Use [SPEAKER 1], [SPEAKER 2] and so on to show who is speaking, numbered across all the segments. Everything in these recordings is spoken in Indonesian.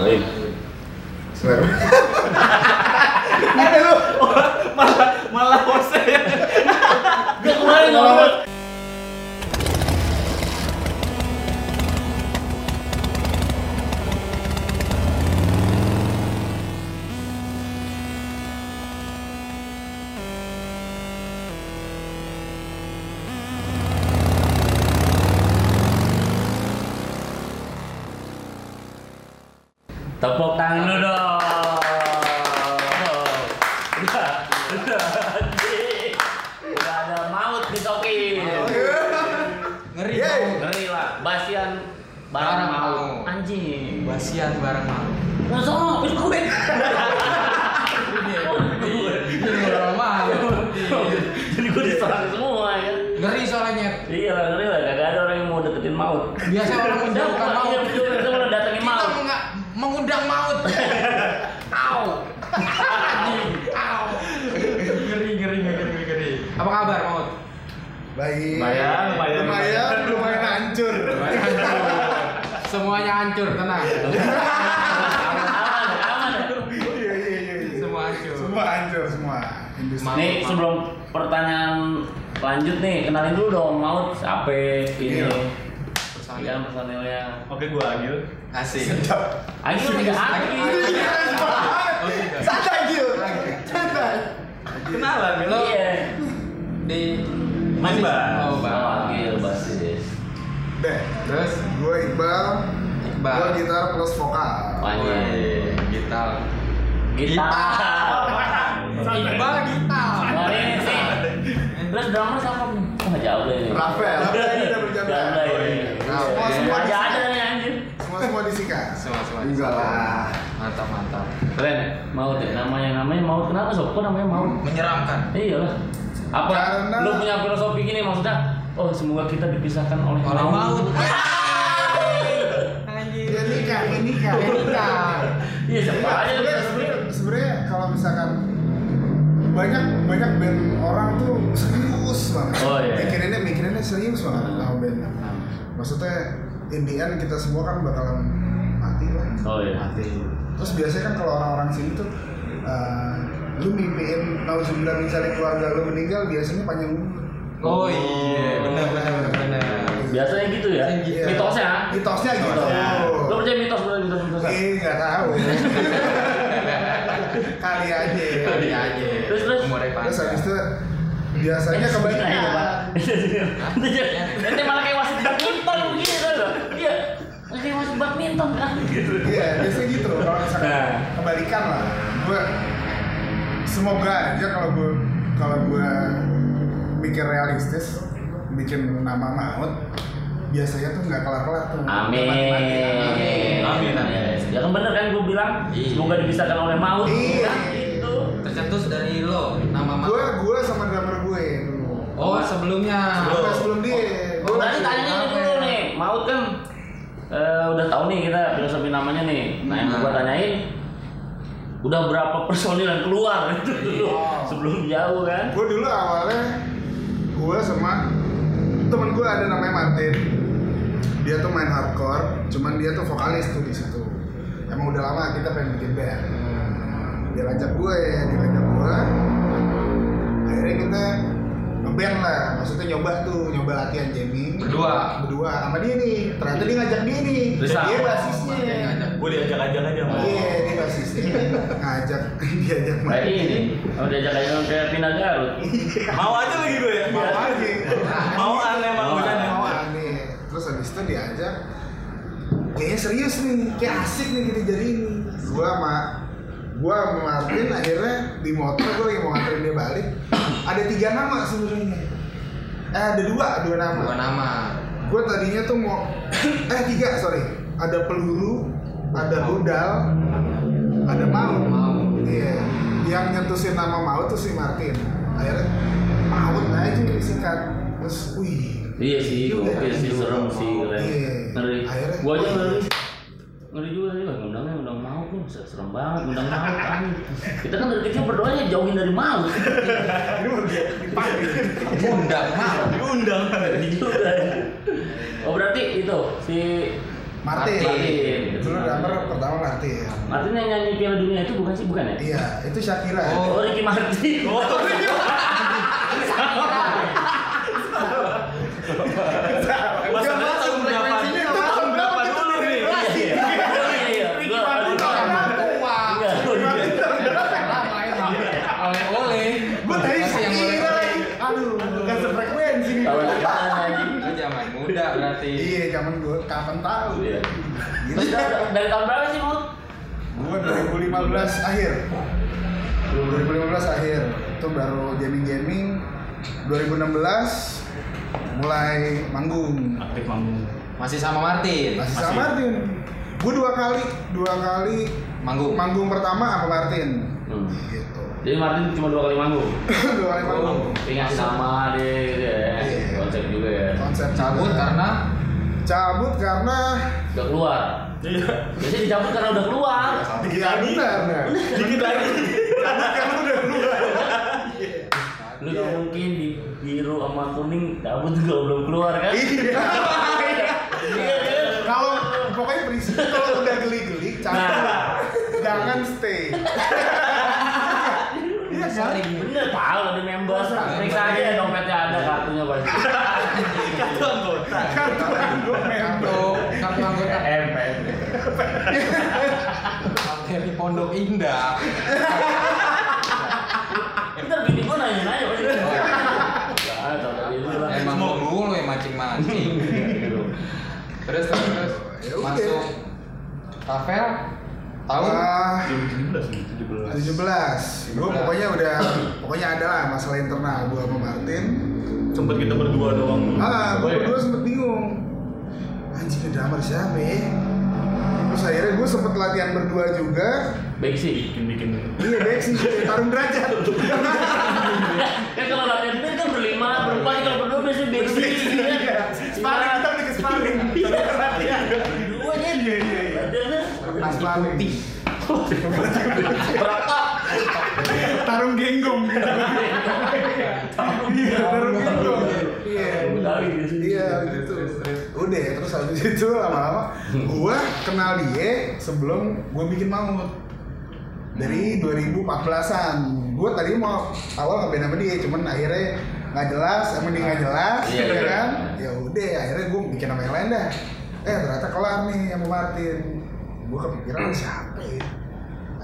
[SPEAKER 1] lain
[SPEAKER 2] Sebenarnya.
[SPEAKER 3] Eh lu malah malah Jose. Gue kemarin ngomong.
[SPEAKER 1] tepuk tangan lu dong udah udah anjing. udah ada maut di toki
[SPEAKER 4] Ngeri
[SPEAKER 2] Yeay.
[SPEAKER 4] tau.
[SPEAKER 1] ngeri lah basian barang
[SPEAKER 4] Barang
[SPEAKER 1] maut
[SPEAKER 4] maut.
[SPEAKER 1] anjing
[SPEAKER 4] Basian barang malu.
[SPEAKER 1] masa mau itu gue
[SPEAKER 4] Ini barang malu.
[SPEAKER 1] jadi gue diserang semua ya
[SPEAKER 4] Ngeri soalnya.
[SPEAKER 1] iya lah ngeri lah gak ada orang yang mau deketin maut
[SPEAKER 4] Biasa orang
[SPEAKER 1] Jangan
[SPEAKER 4] menjauhkan
[SPEAKER 1] maut
[SPEAKER 4] maut.
[SPEAKER 1] itu mau datengin
[SPEAKER 4] Kita
[SPEAKER 1] maut
[SPEAKER 4] menga- mengundang maut. Au. Anjing. Au. Ngeri ngeri ngeri ngeri ngeri. Apa kabar maut?
[SPEAKER 2] Baik.
[SPEAKER 1] Lumayan, lumayan.
[SPEAKER 2] Lumayan, lumayan hancur.
[SPEAKER 4] Semuanya hancur, tenang.
[SPEAKER 1] aman aman aman
[SPEAKER 2] Iya, iya, iya. iya.
[SPEAKER 4] Semua hancur.
[SPEAKER 2] Semua hancur semua. Industri.
[SPEAKER 4] Maut,
[SPEAKER 1] Nih
[SPEAKER 4] maut.
[SPEAKER 1] sebelum pertanyaan lanjut nih kenalin dulu dong Maut siapa ini
[SPEAKER 2] Iya.
[SPEAKER 1] kalian personilnya
[SPEAKER 3] Oke gua Agil.
[SPEAKER 4] Asik.
[SPEAKER 2] Sedap.
[SPEAKER 1] Ayo tiga hari
[SPEAKER 2] Iya, semangat.
[SPEAKER 4] Oh, tidak.
[SPEAKER 2] Santai, Gil. Santai.
[SPEAKER 3] Kenalan Gil.
[SPEAKER 4] Lo-
[SPEAKER 1] iya
[SPEAKER 4] Di
[SPEAKER 3] Main bass.
[SPEAKER 4] Oh,
[SPEAKER 1] Bang
[SPEAKER 4] Bang.
[SPEAKER 1] Agil basis
[SPEAKER 2] Deh,
[SPEAKER 4] Terus
[SPEAKER 2] gue Iqbal.
[SPEAKER 4] Iqbal.
[SPEAKER 2] Gue gitar plus vokal.
[SPEAKER 1] Wajib
[SPEAKER 4] Wih, gitar.
[SPEAKER 1] Gitar
[SPEAKER 4] Iqbal gitar.
[SPEAKER 1] Nah, ini sih. Terus drummer siapa? Oh nggak jauh deh ini
[SPEAKER 2] Rafael. Rafael ini udah berjalan.
[SPEAKER 1] Janda ya.
[SPEAKER 2] Oh, iya.
[SPEAKER 1] Iya.
[SPEAKER 2] Semua- semua
[SPEAKER 1] Nggak ada
[SPEAKER 2] disikat.
[SPEAKER 1] nih anjir
[SPEAKER 2] Semua semua disikat.
[SPEAKER 4] Semua semua.
[SPEAKER 2] Enggak lah.
[SPEAKER 4] Mantap mantap.
[SPEAKER 1] Keren Maut ya namanya namanya Maut kenapa sob? Kok namanya Maut?
[SPEAKER 4] Menyeramkan.
[SPEAKER 1] Iya lah. Apa
[SPEAKER 2] Karena-
[SPEAKER 1] lu punya filosofi gini maksudnya? Oh, semoga kita dipisahkan oleh
[SPEAKER 4] Oleh maut.
[SPEAKER 2] Ya
[SPEAKER 4] Anjir.
[SPEAKER 2] nikah, ya nikah.
[SPEAKER 4] Ya, nikah.
[SPEAKER 1] Iya, siapa aja lu
[SPEAKER 2] Sebenarnya-
[SPEAKER 1] filosofi.
[SPEAKER 2] sebenarnya- Sebenarnya kalau misalkan banyak banyak band orang tuh serius banget.
[SPEAKER 1] Oh, iya.
[SPEAKER 2] Mikirinnya mikirinnya serius banget
[SPEAKER 1] Hmm.
[SPEAKER 2] sama band. Maksudnya in the end kita semua kan bakalan mati lah.
[SPEAKER 1] Oh iya.
[SPEAKER 2] Terus biasanya kan kalau orang-orang sini tuh eh, lu mimpiin tahun sembilan misalnya keluarga lu meninggal biasanya panjang umur.
[SPEAKER 4] Oh iya, benar benar benar, benar.
[SPEAKER 1] Biasanya gitu ya.
[SPEAKER 4] Biasanya gitu.
[SPEAKER 1] Mitosnya.
[SPEAKER 2] Mitosnya gitu.
[SPEAKER 1] Mitosnya. Lu percaya mitos bener mitos mitos.
[SPEAKER 2] Eh nggak tahu. Kali aja. ya.
[SPEAKER 4] Kali aja.
[SPEAKER 1] Terus, terus.
[SPEAKER 4] Iya, Umurnya
[SPEAKER 2] Terus habis
[SPEAKER 4] panjang.
[SPEAKER 2] itu biasanya
[SPEAKER 1] Nah, iya, Pak.
[SPEAKER 2] kebanyakan
[SPEAKER 1] Itu aja. Nanti malah kayak wasit badminton gitu loh. Iya. Kayak wasit badminton kan gitu.
[SPEAKER 2] Iya, biasanya gitu loh kalau misalkan
[SPEAKER 1] Nah.
[SPEAKER 2] kebalikan lah. Gue semoga aja kalau gue kalau gue mikir realistis, bikin nama maut, biasanya tuh nggak kelar-kelar tuh. Mati-mati,
[SPEAKER 1] Amin.
[SPEAKER 4] Amin, amin.
[SPEAKER 1] Ya kan bener kan gue bilang
[SPEAKER 4] Iya.
[SPEAKER 1] semoga dipisahkan oleh maut.
[SPEAKER 2] Iya.
[SPEAKER 1] Kan gitu.
[SPEAKER 4] Tercetus dari lo nama maut.
[SPEAKER 2] Gue gue sama drummer gue dulu.
[SPEAKER 4] Oh sebelumnya.
[SPEAKER 2] Sampai sebelum dia.
[SPEAKER 1] Oh,
[SPEAKER 2] Gua
[SPEAKER 1] tadi
[SPEAKER 2] masih-
[SPEAKER 1] tanya nih dulu nih, Maut kan eh, udah tahu nih kita filosofi namanya nih. Nah, yang
[SPEAKER 4] Hmm.
[SPEAKER 2] Iya.
[SPEAKER 1] gua tanyain udah berapa personil yang keluar itu dulu
[SPEAKER 2] Iya.
[SPEAKER 1] sebelum jauh kan?
[SPEAKER 2] gue dulu awalnya gue sama temen gue ada namanya Martin dia tuh main hardcore cuman dia tuh vokalis tuh di situ emang udah lama kita pengen bikin band dia ngajak gue dia ngajak gue akhirnya kita ngeband lah maksudnya nyoba tuh nyoba latihan jamming
[SPEAKER 4] Berdua.
[SPEAKER 2] berdua sama dia nih ternyata dia ngajak dia nih
[SPEAKER 1] Bisa.
[SPEAKER 2] dia basisnya
[SPEAKER 4] Dia ngajak.
[SPEAKER 3] Gua diajak-ajak aja sama.
[SPEAKER 2] iya dia basisnya ngajak dia ajak main
[SPEAKER 1] Berarti Nah, ini udah diajak aja kayak pindah Garut.
[SPEAKER 3] Mau aja lagi gue ya.
[SPEAKER 2] mau aja
[SPEAKER 3] Mau aneh emang
[SPEAKER 1] Mau
[SPEAKER 3] gue
[SPEAKER 1] aneh.
[SPEAKER 2] mau aneh terus habis itu diajak kayaknya serius nih kayak asik nih kita jadi ini gua sama gua sama Martin akhirnya di motor gua lagi mau nganterin dia balik ada tiga nama sebenarnya eh ada dua dua nama
[SPEAKER 4] Dua nama.
[SPEAKER 2] gua tadinya tuh mau eh tiga sorry ada peluru ada rudal ada maut
[SPEAKER 4] Maut.
[SPEAKER 2] iya yang nyetusin nama maut tuh si Martin akhirnya maut aja disingkat terus wih
[SPEAKER 1] Iya sih,
[SPEAKER 2] Iya,
[SPEAKER 1] gokil sih,
[SPEAKER 2] iya.
[SPEAKER 1] serem sih, keren.
[SPEAKER 2] Iya.
[SPEAKER 1] Ngeri.
[SPEAKER 2] Akhirnya-
[SPEAKER 1] Gua aja ngeri. Ngeri juga tadi bang, undangnya undang maut pun serem banget, undang maut kan. Kita kan dari kecil berdoanya jauhin dari maut.
[SPEAKER 2] Ini mau dia dipanggil. Iya.
[SPEAKER 4] Undang maut.
[SPEAKER 3] Diundang.
[SPEAKER 1] Juga. Oh berarti itu si
[SPEAKER 2] Martin.
[SPEAKER 1] Martin.
[SPEAKER 2] Dulu drummer pertama Martin.
[SPEAKER 1] Martin yang nyanyi Piala Dunia itu bukan sih bukan ya?
[SPEAKER 2] Iya, itu Shakira.
[SPEAKER 1] Oh, Ricky Martin.
[SPEAKER 3] Oh,
[SPEAKER 2] Nggak
[SPEAKER 3] masalahnya
[SPEAKER 2] masuk
[SPEAKER 3] tahun berapa?
[SPEAKER 2] frekuensinya nggak
[SPEAKER 3] Tahun
[SPEAKER 2] masuk.
[SPEAKER 3] berapa
[SPEAKER 2] Itu
[SPEAKER 3] dulu nih?
[SPEAKER 2] generasi.
[SPEAKER 1] Iya, iya.
[SPEAKER 3] Ricky
[SPEAKER 1] Gua-
[SPEAKER 3] Martin
[SPEAKER 1] aduh.
[SPEAKER 3] tahun
[SPEAKER 4] Tua.
[SPEAKER 1] Enggak, oh, iya.
[SPEAKER 4] Oleh-oleh.
[SPEAKER 2] Gue tadi
[SPEAKER 4] Masih yang
[SPEAKER 2] Shakira
[SPEAKER 4] oleh-oleh.
[SPEAKER 2] lagi. Aduh, nggak sefrekuensi nih.
[SPEAKER 1] Tahun depan lagi.
[SPEAKER 4] Lu zaman muda berarti.
[SPEAKER 2] Iya, zaman gue kapan tahu.
[SPEAKER 1] Iya.
[SPEAKER 2] Gitu.
[SPEAKER 1] Terus dari dari tahun berapa sih, Bu?
[SPEAKER 2] Gue 2015 akhir. 2015 akhir. Itu baru gaming-gaming. 2016 mulai manggung.
[SPEAKER 3] Aktif manggung.
[SPEAKER 4] Masih sama Martin.
[SPEAKER 2] Masih
[SPEAKER 3] Masih.
[SPEAKER 2] sama Martin. Gue dua kali, dua kali
[SPEAKER 4] Manggung.
[SPEAKER 2] manggung pertama sama Martin.
[SPEAKER 1] Hmm.
[SPEAKER 2] Gitu.
[SPEAKER 1] Jadi Martin cuma dua kali manggung.
[SPEAKER 2] dua kali manggung.
[SPEAKER 1] Ingat sama deh, gitu ya.
[SPEAKER 2] Iya.
[SPEAKER 1] Konsep juga ya.
[SPEAKER 2] Konsep kan.
[SPEAKER 4] Cabut karena
[SPEAKER 2] cabut karena
[SPEAKER 1] Udah keluar.
[SPEAKER 3] Iya.
[SPEAKER 1] Biasanya dicabut karena udah keluar.
[SPEAKER 2] iya benar. benar.
[SPEAKER 3] Dikit lagi. kan
[SPEAKER 1] Lu nggak mungkin di biru sama kuning cabut juga belum keluar kan?
[SPEAKER 2] Iya.
[SPEAKER 1] Iya kan?
[SPEAKER 2] Kalau pokoknya prinsip kalau udah geli-geli
[SPEAKER 3] Nah.
[SPEAKER 2] cabut. Jangan stay. Iya kan?
[SPEAKER 4] sering.
[SPEAKER 1] Bener tahu ada member. Periksa aja
[SPEAKER 2] Iya.
[SPEAKER 1] dompetnya ada kartunya pasti.
[SPEAKER 3] Kartu anggota.
[SPEAKER 2] Kartu anggota member.
[SPEAKER 4] Kartu kartu Iya, anggota
[SPEAKER 1] PM.
[SPEAKER 4] dari Pondok Indah.
[SPEAKER 1] Kita bini gua nanya-nanya pasti.
[SPEAKER 2] Oh, iya.
[SPEAKER 1] Ah, tahu dari dulu lah.
[SPEAKER 4] Emang dulu yang mancing-mancing. Terus terus, terus.
[SPEAKER 2] Ya udah.
[SPEAKER 4] masuk Rafael tahun
[SPEAKER 2] Wah,
[SPEAKER 3] 17
[SPEAKER 2] 17. Gue pokoknya udah pokoknya ada lah masalah internal gue sama Martin.
[SPEAKER 3] Sempet kita berdua doang.
[SPEAKER 2] Ah,
[SPEAKER 3] Oh,
[SPEAKER 2] gue
[SPEAKER 3] iya.
[SPEAKER 2] berdua sempet bingung. Anjing ada drummer siapa ya? Terus akhirnya gue sempet latihan berdua juga.
[SPEAKER 1] Baik sih.
[SPEAKER 3] bikin-bikin.
[SPEAKER 2] Iya, baik sih, tarung derajat.
[SPEAKER 1] Kan kalau latihan band kan berlima, berempat, kalau berdua biasanya baik sih.
[SPEAKER 2] Iya, sparring kita bikin sparring.
[SPEAKER 1] Dua aja. Iya, iya, iya.
[SPEAKER 2] Pas sparring.
[SPEAKER 1] Berapa?
[SPEAKER 2] Tarung genggong. gitu. Iya, tarung genggong. Iya. Iya, gitu. Udah, terus habis itu lama-lama gua kenal dia sebelum gua bikin maut. Dari 2014-an. Gua tadi mau awal ngeband sama dia, cuman akhirnya nggak jelas, emang dia nggak jelas,
[SPEAKER 1] Iya,
[SPEAKER 2] ya
[SPEAKER 1] iya.
[SPEAKER 2] kan? Ya udah, akhirnya gua bikin sama yang lain dah. Eh ternyata kelar nih sama Martin. Gua kepikiran siapa ya?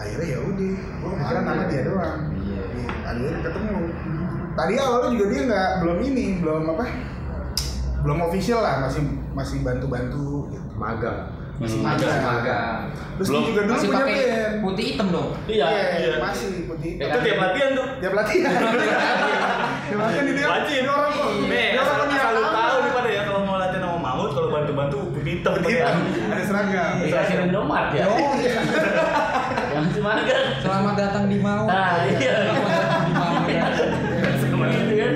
[SPEAKER 2] Akhirnya ya udah, gua kepikiran nama dia doang.
[SPEAKER 4] Iya.
[SPEAKER 2] Iya, akhirnya ketemu. Tadi awalnya juga dia nggak belum ini, belum apa? Belum official lah, masih masih bantu-bantu gitu.
[SPEAKER 4] magang. Hmm.
[SPEAKER 1] Masih
[SPEAKER 2] magang.
[SPEAKER 4] magang.
[SPEAKER 2] Terus
[SPEAKER 3] Belum-
[SPEAKER 2] dia juga dulu
[SPEAKER 4] Masih
[SPEAKER 2] punya
[SPEAKER 4] pakai
[SPEAKER 2] band.
[SPEAKER 4] putih hitam dong.
[SPEAKER 1] Iya.
[SPEAKER 3] iya.
[SPEAKER 2] masih putih.
[SPEAKER 4] Ya
[SPEAKER 3] Itu
[SPEAKER 4] kan?
[SPEAKER 3] tiap latihan tuh.
[SPEAKER 2] Dia pelatih. Dia makan di dia.
[SPEAKER 3] Wajib.
[SPEAKER 2] Dia orang kok.
[SPEAKER 3] Nih,
[SPEAKER 2] Dia orang
[SPEAKER 3] asal
[SPEAKER 2] kok yang
[SPEAKER 3] asal lu
[SPEAKER 2] lama.
[SPEAKER 3] tahu nih pada ya kalau mau latihan sama maut kalau bantu-bantu ya. kita
[SPEAKER 2] Dia kan ada seragam.
[SPEAKER 1] Dikasih rendomat ya. Yang kan? masih magang.
[SPEAKER 4] Selamat datang di Mau.
[SPEAKER 1] Nah, iya.
[SPEAKER 4] Selamat datang di Mau.
[SPEAKER 2] Iya.
[SPEAKER 4] ya.
[SPEAKER 1] Sama gitu kan.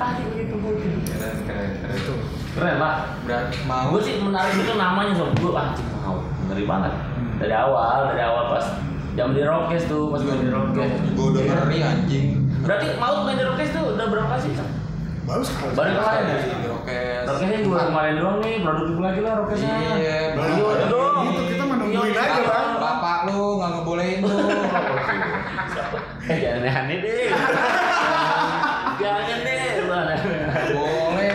[SPEAKER 1] Ah, gitu mungkin.
[SPEAKER 4] Keren, keren, keren.
[SPEAKER 2] Itu.
[SPEAKER 1] Keren pak.
[SPEAKER 4] Berat Mau.
[SPEAKER 2] Iya.
[SPEAKER 1] Gue sih menarik itu namanya sob gue ah anjing mau ngeri banget. Dari awal, dari awal pas jam di Rockes tuh, pas main di Rockes.
[SPEAKER 4] Gue udah ngeri anjing.
[SPEAKER 1] Berarti mau main di Rockes tuh udah berapa sih? Sob?
[SPEAKER 2] Baru sekali.
[SPEAKER 1] Baru kemarin. ya?
[SPEAKER 4] Rokes.
[SPEAKER 1] Rokesnya juga kemarin doang nih, produk gue lagi lah Rokesnya.
[SPEAKER 4] Iya,
[SPEAKER 2] Baru
[SPEAKER 4] Iya,
[SPEAKER 2] ada
[SPEAKER 4] dong.
[SPEAKER 2] Gitu kita menungguin
[SPEAKER 1] Iya,
[SPEAKER 2] aja,
[SPEAKER 1] iya.
[SPEAKER 2] Bang.
[SPEAKER 4] Bapak lu nggak ngebolehin lu.
[SPEAKER 1] Eh, jangan aneh-aneh deh. Jangan deh, lu aneh-aneh.
[SPEAKER 4] Boleh.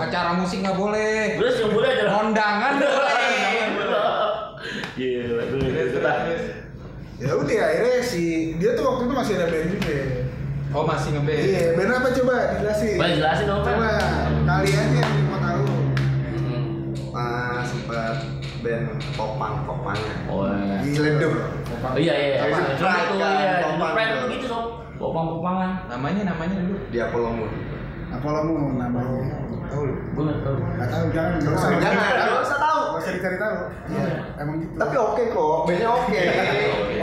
[SPEAKER 4] Acara musik nggak boleh.
[SPEAKER 1] Terus yang boleh adalah
[SPEAKER 4] Kondangan boleh.
[SPEAKER 1] Gila, dulu itu tak.
[SPEAKER 2] Ya udah akhirnya si dia tuh waktu itu masih ada band juga. ya.
[SPEAKER 4] Oh masih ngeband.
[SPEAKER 2] Iya, band apa coba dijelasin?
[SPEAKER 1] Boleh jelasin dong, Pak.
[SPEAKER 2] Coba kalian yang mau taruh.
[SPEAKER 1] Hmm.
[SPEAKER 5] Nah, sempet band popang popangnya.
[SPEAKER 1] Oh, iya.
[SPEAKER 2] Dileduk.
[SPEAKER 1] Oh, iya iya.
[SPEAKER 5] Apa?
[SPEAKER 1] Apa? Drum
[SPEAKER 5] Pride
[SPEAKER 1] itu
[SPEAKER 5] kan,
[SPEAKER 1] ya.
[SPEAKER 5] popang.
[SPEAKER 1] Pride itu gitu sob. Popang-popangan.
[SPEAKER 4] Namanya namanya dulu.
[SPEAKER 5] Dia Polomu.
[SPEAKER 2] Apa lo Nah, mau namanya? Tahu lu?
[SPEAKER 1] Gue nggak tahu.
[SPEAKER 2] Nggak tahu, jangan. Nggak usah.
[SPEAKER 5] Jangan,
[SPEAKER 2] Nggak
[SPEAKER 5] nggak
[SPEAKER 2] usah.
[SPEAKER 5] usah tahu.
[SPEAKER 2] Nggak usah dicari tahu. Iya, emang gitu.
[SPEAKER 5] Tapi oke kok, bandnya oke.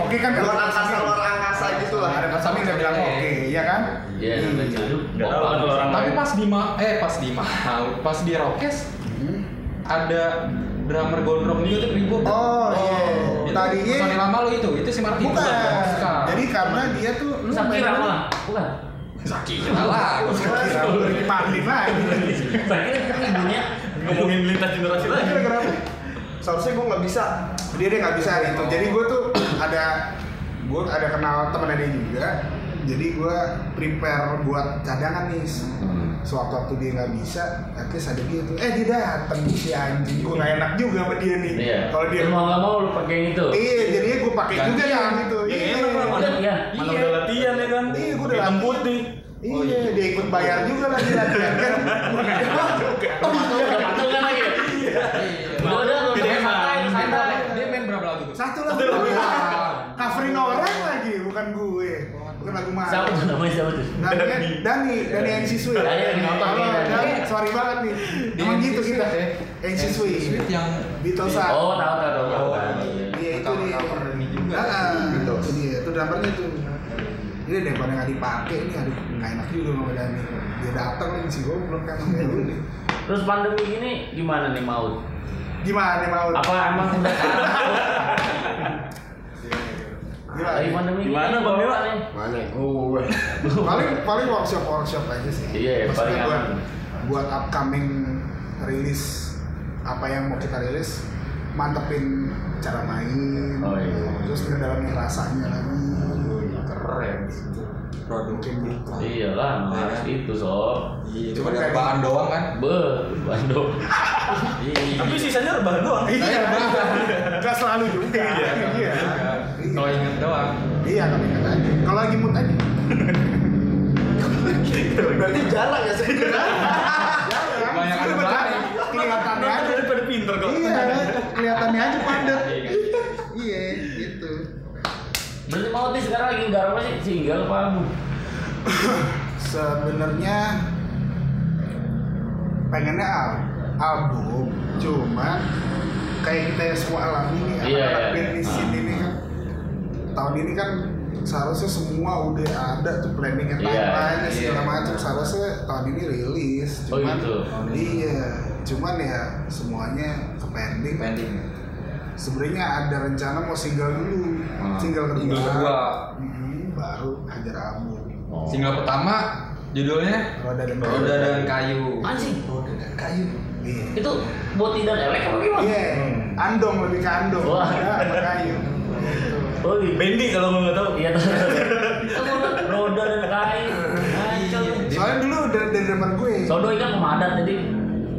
[SPEAKER 2] oke kan kalau
[SPEAKER 5] Luar angkasa luar angkasa gitu lah.
[SPEAKER 2] ada Pak Sami udah bilang oke, iya kan?
[SPEAKER 1] Iya, sampai dulu.
[SPEAKER 3] Nggak tahu kan orang
[SPEAKER 4] Tapi
[SPEAKER 3] lain.
[SPEAKER 4] pas di ma eh pas di Mau, pas di Rokes
[SPEAKER 2] Hmm.
[SPEAKER 4] ada drummer gondrong juga tuh ribut.
[SPEAKER 2] Oh, iya.
[SPEAKER 4] Itu
[SPEAKER 2] Tadinya-
[SPEAKER 4] personil lama lu itu, itu si Martin.
[SPEAKER 2] Bukan.
[SPEAKER 4] Bukan.
[SPEAKER 2] Jadi karena dia tuh lu
[SPEAKER 1] Sakira malah. Bukan.
[SPEAKER 4] salah.
[SPEAKER 2] Sakira Ricky Martin lagi.
[SPEAKER 1] Sakira kan ibunya.
[SPEAKER 3] ngomongin lintas generasi lagi.
[SPEAKER 2] Gara-gara apa? seharusnya gue nggak bisa dia dia nggak bisa hari itu jadi gue tuh ada gue ada kenal temen dia juga jadi gue prepare buat cadangan nih
[SPEAKER 1] Hmm.
[SPEAKER 2] sewaktu-waktu dia nggak bisa at least ada dia tuh eh dia dateng si anjing gue nggak enak juga sama dia nih
[SPEAKER 1] Iya.
[SPEAKER 2] kalau dia
[SPEAKER 1] Lu mau nggak mau lu pakai itu.
[SPEAKER 2] iya jadinya gue pakai juga ya gitu
[SPEAKER 3] Ya,
[SPEAKER 2] iya
[SPEAKER 3] enak lah, mana,
[SPEAKER 1] Iya.
[SPEAKER 3] mana udah latihan ya kan?
[SPEAKER 2] Iya, gua udah
[SPEAKER 3] Hitam
[SPEAKER 2] latihan.
[SPEAKER 3] putih.
[SPEAKER 2] Iya, dia ikut bayar juga lagi latihan kan. Gua nggak enak juga.
[SPEAKER 1] Udah patung kan lagi. Udah udah udah,
[SPEAKER 3] Gede
[SPEAKER 1] udah,
[SPEAKER 3] emang.
[SPEAKER 1] santai, santai.
[SPEAKER 4] Iya. Dia main berapa lagu tuh?
[SPEAKER 2] Satu lagu doang. Coverin orang lagi, bukan gue. Bukan lagu mah.
[SPEAKER 1] Siapa tuh namanya siapa tuh?
[SPEAKER 2] Namanya Dani, Dani MC Sweet.
[SPEAKER 1] Dani lagi nonton nih,
[SPEAKER 2] Oh,
[SPEAKER 1] Dani.
[SPEAKER 2] Dani, sorry banget nih. Emang
[SPEAKER 4] Dia
[SPEAKER 2] gitu
[SPEAKER 4] MC
[SPEAKER 2] kita.
[SPEAKER 4] Sweet ya?
[SPEAKER 2] MC Sweet.
[SPEAKER 4] Sweet yang
[SPEAKER 2] Beatlesan.
[SPEAKER 1] Oh, tahu tahu tahu. tahu.
[SPEAKER 2] Iya itu
[SPEAKER 4] Tahu,
[SPEAKER 2] nih.
[SPEAKER 4] cover ini juga.
[SPEAKER 2] Ah, ah, itu dia. Itu dampernya tuh. Ini daripada nggak dipakai nih, aduh nggak enak juga sama Dani. Dia datang nih si goblok kan kayak lu nih.
[SPEAKER 1] Terus pandemi gini gimana nih maut?
[SPEAKER 2] Gimana nih mau?
[SPEAKER 1] Apa emang udah
[SPEAKER 2] Gimana?
[SPEAKER 1] lagi pandemi?
[SPEAKER 3] Gimana, Bang Dewa?
[SPEAKER 1] nih?
[SPEAKER 5] Mana gue?
[SPEAKER 2] paling paling workshop workshop aja sih
[SPEAKER 1] Iya, iya,
[SPEAKER 2] Maksudnya
[SPEAKER 1] paling
[SPEAKER 2] buat,
[SPEAKER 1] aman.
[SPEAKER 2] buat upcoming rilis apa yang mau kita rilis mantepin cara main
[SPEAKER 1] Oh, iya. Oh,
[SPEAKER 2] terus ngedalamin rasanya lagi
[SPEAKER 4] Iya, keren gitu. Produk
[SPEAKER 2] mungkin gitu
[SPEAKER 1] Iyalah, emang harus itu sob.
[SPEAKER 4] Iya,
[SPEAKER 2] Cuma
[SPEAKER 4] cuma
[SPEAKER 2] kayak-
[SPEAKER 4] rebahan doang kan?
[SPEAKER 1] Be, Bandung.
[SPEAKER 4] Iya.
[SPEAKER 3] Tapi sisanya rebahan doang.
[SPEAKER 2] iya nggak selalu juga iya iya
[SPEAKER 4] Kalau inget doang.
[SPEAKER 2] iya kalau ingat aja kalau lagi mood aja
[SPEAKER 5] Berarti jarang ya sih.
[SPEAKER 2] Jarang.
[SPEAKER 4] Banyak
[SPEAKER 2] Cuma
[SPEAKER 4] ada
[SPEAKER 2] jarang. kelihatannya aja
[SPEAKER 3] Jadi pada pinter kok.
[SPEAKER 2] iya kelihatannya aja padat iya gitu
[SPEAKER 1] Berarti maut nih sekarang lagi garap apa sih? Single apa album?
[SPEAKER 2] sebenarnya pengennya al- album cuma kayak kita yang semua alami nih
[SPEAKER 1] Iya,
[SPEAKER 2] anak-anak
[SPEAKER 1] iya.
[SPEAKER 2] band di sini nih kan tahun ini kan seharusnya semua udah ada tuh planningnya
[SPEAKER 1] Iya,
[SPEAKER 2] timeline
[SPEAKER 4] iya.
[SPEAKER 2] segala macam seharusnya tahun ini rilis
[SPEAKER 1] Oh,
[SPEAKER 2] cuman
[SPEAKER 1] gitu.
[SPEAKER 2] iya cuman ya semuanya ke pending
[SPEAKER 4] Pending.
[SPEAKER 2] sebenarnya ada rencana mau single dulu
[SPEAKER 4] Hmm.
[SPEAKER 2] single kedua,
[SPEAKER 4] Single kedua.
[SPEAKER 2] Mhm, baru hajar album
[SPEAKER 1] Oh.
[SPEAKER 4] Single pertama judulnya
[SPEAKER 2] roda dan
[SPEAKER 4] Roda dan Kayu.
[SPEAKER 1] Anjing,
[SPEAKER 2] roda dan kayu iya
[SPEAKER 1] itu boti dan elek apa gimana?
[SPEAKER 2] Iya, andong lebih ke andong.
[SPEAKER 1] Wah.
[SPEAKER 2] Ya, sama kayu. Gitu.
[SPEAKER 1] Oh, iya.
[SPEAKER 3] Bendi kalau nggak tahu.
[SPEAKER 1] Iya tuh. Itu roda dan kain. Kacau.
[SPEAKER 2] Soalnya dulu dari, dari depan gue.
[SPEAKER 1] Sodo kan pemadat jadi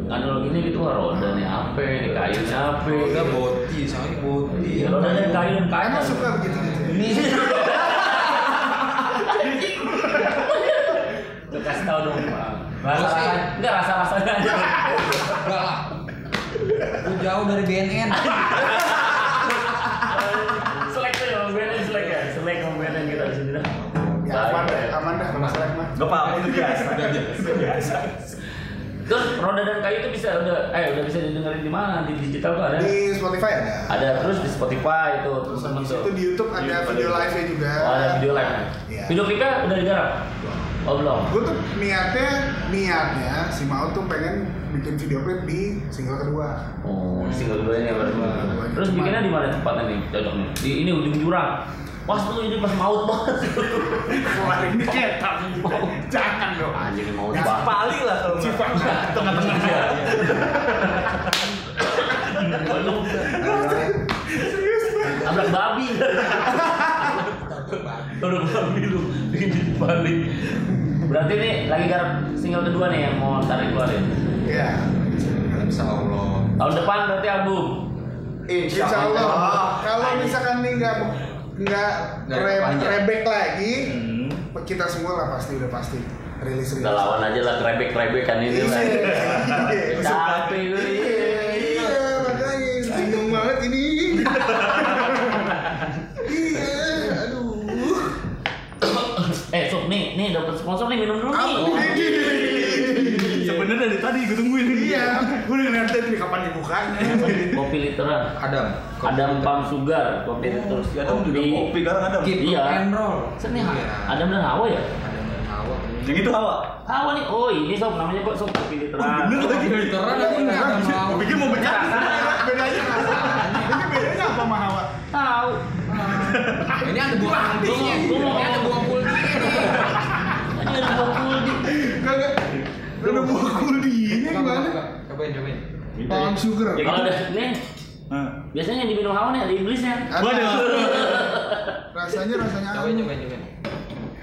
[SPEAKER 1] analog ini gitu wah roda nih apa nih kayu nih apa.
[SPEAKER 4] Roda boti, soalnya boti.
[SPEAKER 1] Iya, roda dan kayu dan kain.
[SPEAKER 2] Emang suka begitu gitu. ya?
[SPEAKER 1] Ini. Anjing. Lu kasih tau dong, Bang. Rasa rasa enggak rasa rasanya.
[SPEAKER 4] Enggak lah. Lu jauh dari BNN.
[SPEAKER 1] Selek tuh, Bang Benen selek ya. Selek Bang Benen kita di sini dah.
[SPEAKER 2] Ya, aman dah, aman dah, Mas Rahmat.
[SPEAKER 3] Gak apa-apa itu biasa. Itu biasa.
[SPEAKER 1] Terus roda dan kayu itu bisa udah eh udah bisa didengerin di mana? Di digital tuh ada.
[SPEAKER 2] Di Spotify ada.
[SPEAKER 1] Ada terus di Spotify itu terus temen tuh.
[SPEAKER 2] Itu di YouTube ada
[SPEAKER 3] Di-
[SPEAKER 2] video live-nya juga.
[SPEAKER 1] Oh, ada video live nya
[SPEAKER 2] Iya.
[SPEAKER 1] Video klipnya udah digarap? Oh belum?
[SPEAKER 2] Gue tuh niatnya, niatnya si Mau tuh pengen bikin video clip di single kedua.
[SPEAKER 1] Oh, single kedua ini baru. Terus bikinnya di mana tempatnya nih? Cocok nih. Di ini ujung jurang. Pas tuh ini pas maut banget.
[SPEAKER 2] Kemarin ini cetak. Jangan dong.
[SPEAKER 1] Anjing ini maut
[SPEAKER 2] Ya,
[SPEAKER 1] banget.
[SPEAKER 3] Paling lah kalau nggak.
[SPEAKER 1] Tengah-tengah aja. Belum. Tabrak babi. Tabrak babi lu. Ini balik. Berarti nih lagi garap single kedua nih yang mau tarik keluarin.
[SPEAKER 2] Iya.
[SPEAKER 4] Insya Allah.
[SPEAKER 1] Tahun depan berarti album.
[SPEAKER 2] Insya Allah. Kalau misalkan nih nggak nggak
[SPEAKER 4] Nggak
[SPEAKER 2] re-
[SPEAKER 4] panjang.
[SPEAKER 2] rebek lagi,
[SPEAKER 3] Hmm.
[SPEAKER 2] kita semua lah pasti udah pasti rilis rilis.
[SPEAKER 1] Kita lawan aja lah kerebek-kerebekan ini lah.
[SPEAKER 2] Iya.
[SPEAKER 1] Capek gue nih.
[SPEAKER 2] Iya, makanya bingung banget ini. Iya, aduh.
[SPEAKER 1] Eh, sob nih, nih dapat sponsor nih minum dulu nih.
[SPEAKER 2] Aku
[SPEAKER 3] Sebenarnya dari tadi gue tungguin.
[SPEAKER 2] Iya, gue udah ngeliatin nih kapan dibukanya.
[SPEAKER 1] Kopi literan.
[SPEAKER 4] Adam.
[SPEAKER 1] Adam Pam Sugar, kopi terus.
[SPEAKER 3] Si Adam juga kopi kan Adam.
[SPEAKER 4] Keep
[SPEAKER 1] Iya.
[SPEAKER 4] and roll.
[SPEAKER 1] Set nih,
[SPEAKER 4] Iya.
[SPEAKER 1] Adam dan Hawa ya?
[SPEAKER 4] Adam dan Hawa.
[SPEAKER 3] Yang itu hawa.
[SPEAKER 1] Hawa nih. Oh, ini sob namanya kok sob kopi literan.
[SPEAKER 3] Bener lagi.
[SPEAKER 4] Terang aku nggak akan mau.
[SPEAKER 3] Gue pikir mau bercanda.
[SPEAKER 2] Bedanya apa? Ini bedanya apa sama Hawa?
[SPEAKER 1] Tahu.
[SPEAKER 4] Ini ada buang pulpinya.
[SPEAKER 1] Gua mau-
[SPEAKER 4] Ini ada buang pulpinya
[SPEAKER 1] Tadi
[SPEAKER 4] nih.
[SPEAKER 1] ada buah kuldi.
[SPEAKER 2] Enggak, enggak. Udah bukul dia
[SPEAKER 4] Coba,
[SPEAKER 3] Iya,
[SPEAKER 2] gimana?
[SPEAKER 4] coba, coba. Cobain, cobain.
[SPEAKER 2] Palm sugar.
[SPEAKER 1] Kalau ada nih
[SPEAKER 3] Hah.
[SPEAKER 1] Biasanya yang diminum hawa nih ada Inggrisnya.
[SPEAKER 3] Waduh.
[SPEAKER 2] rasanya rasanya
[SPEAKER 4] Coba
[SPEAKER 2] apa?
[SPEAKER 4] coba coba.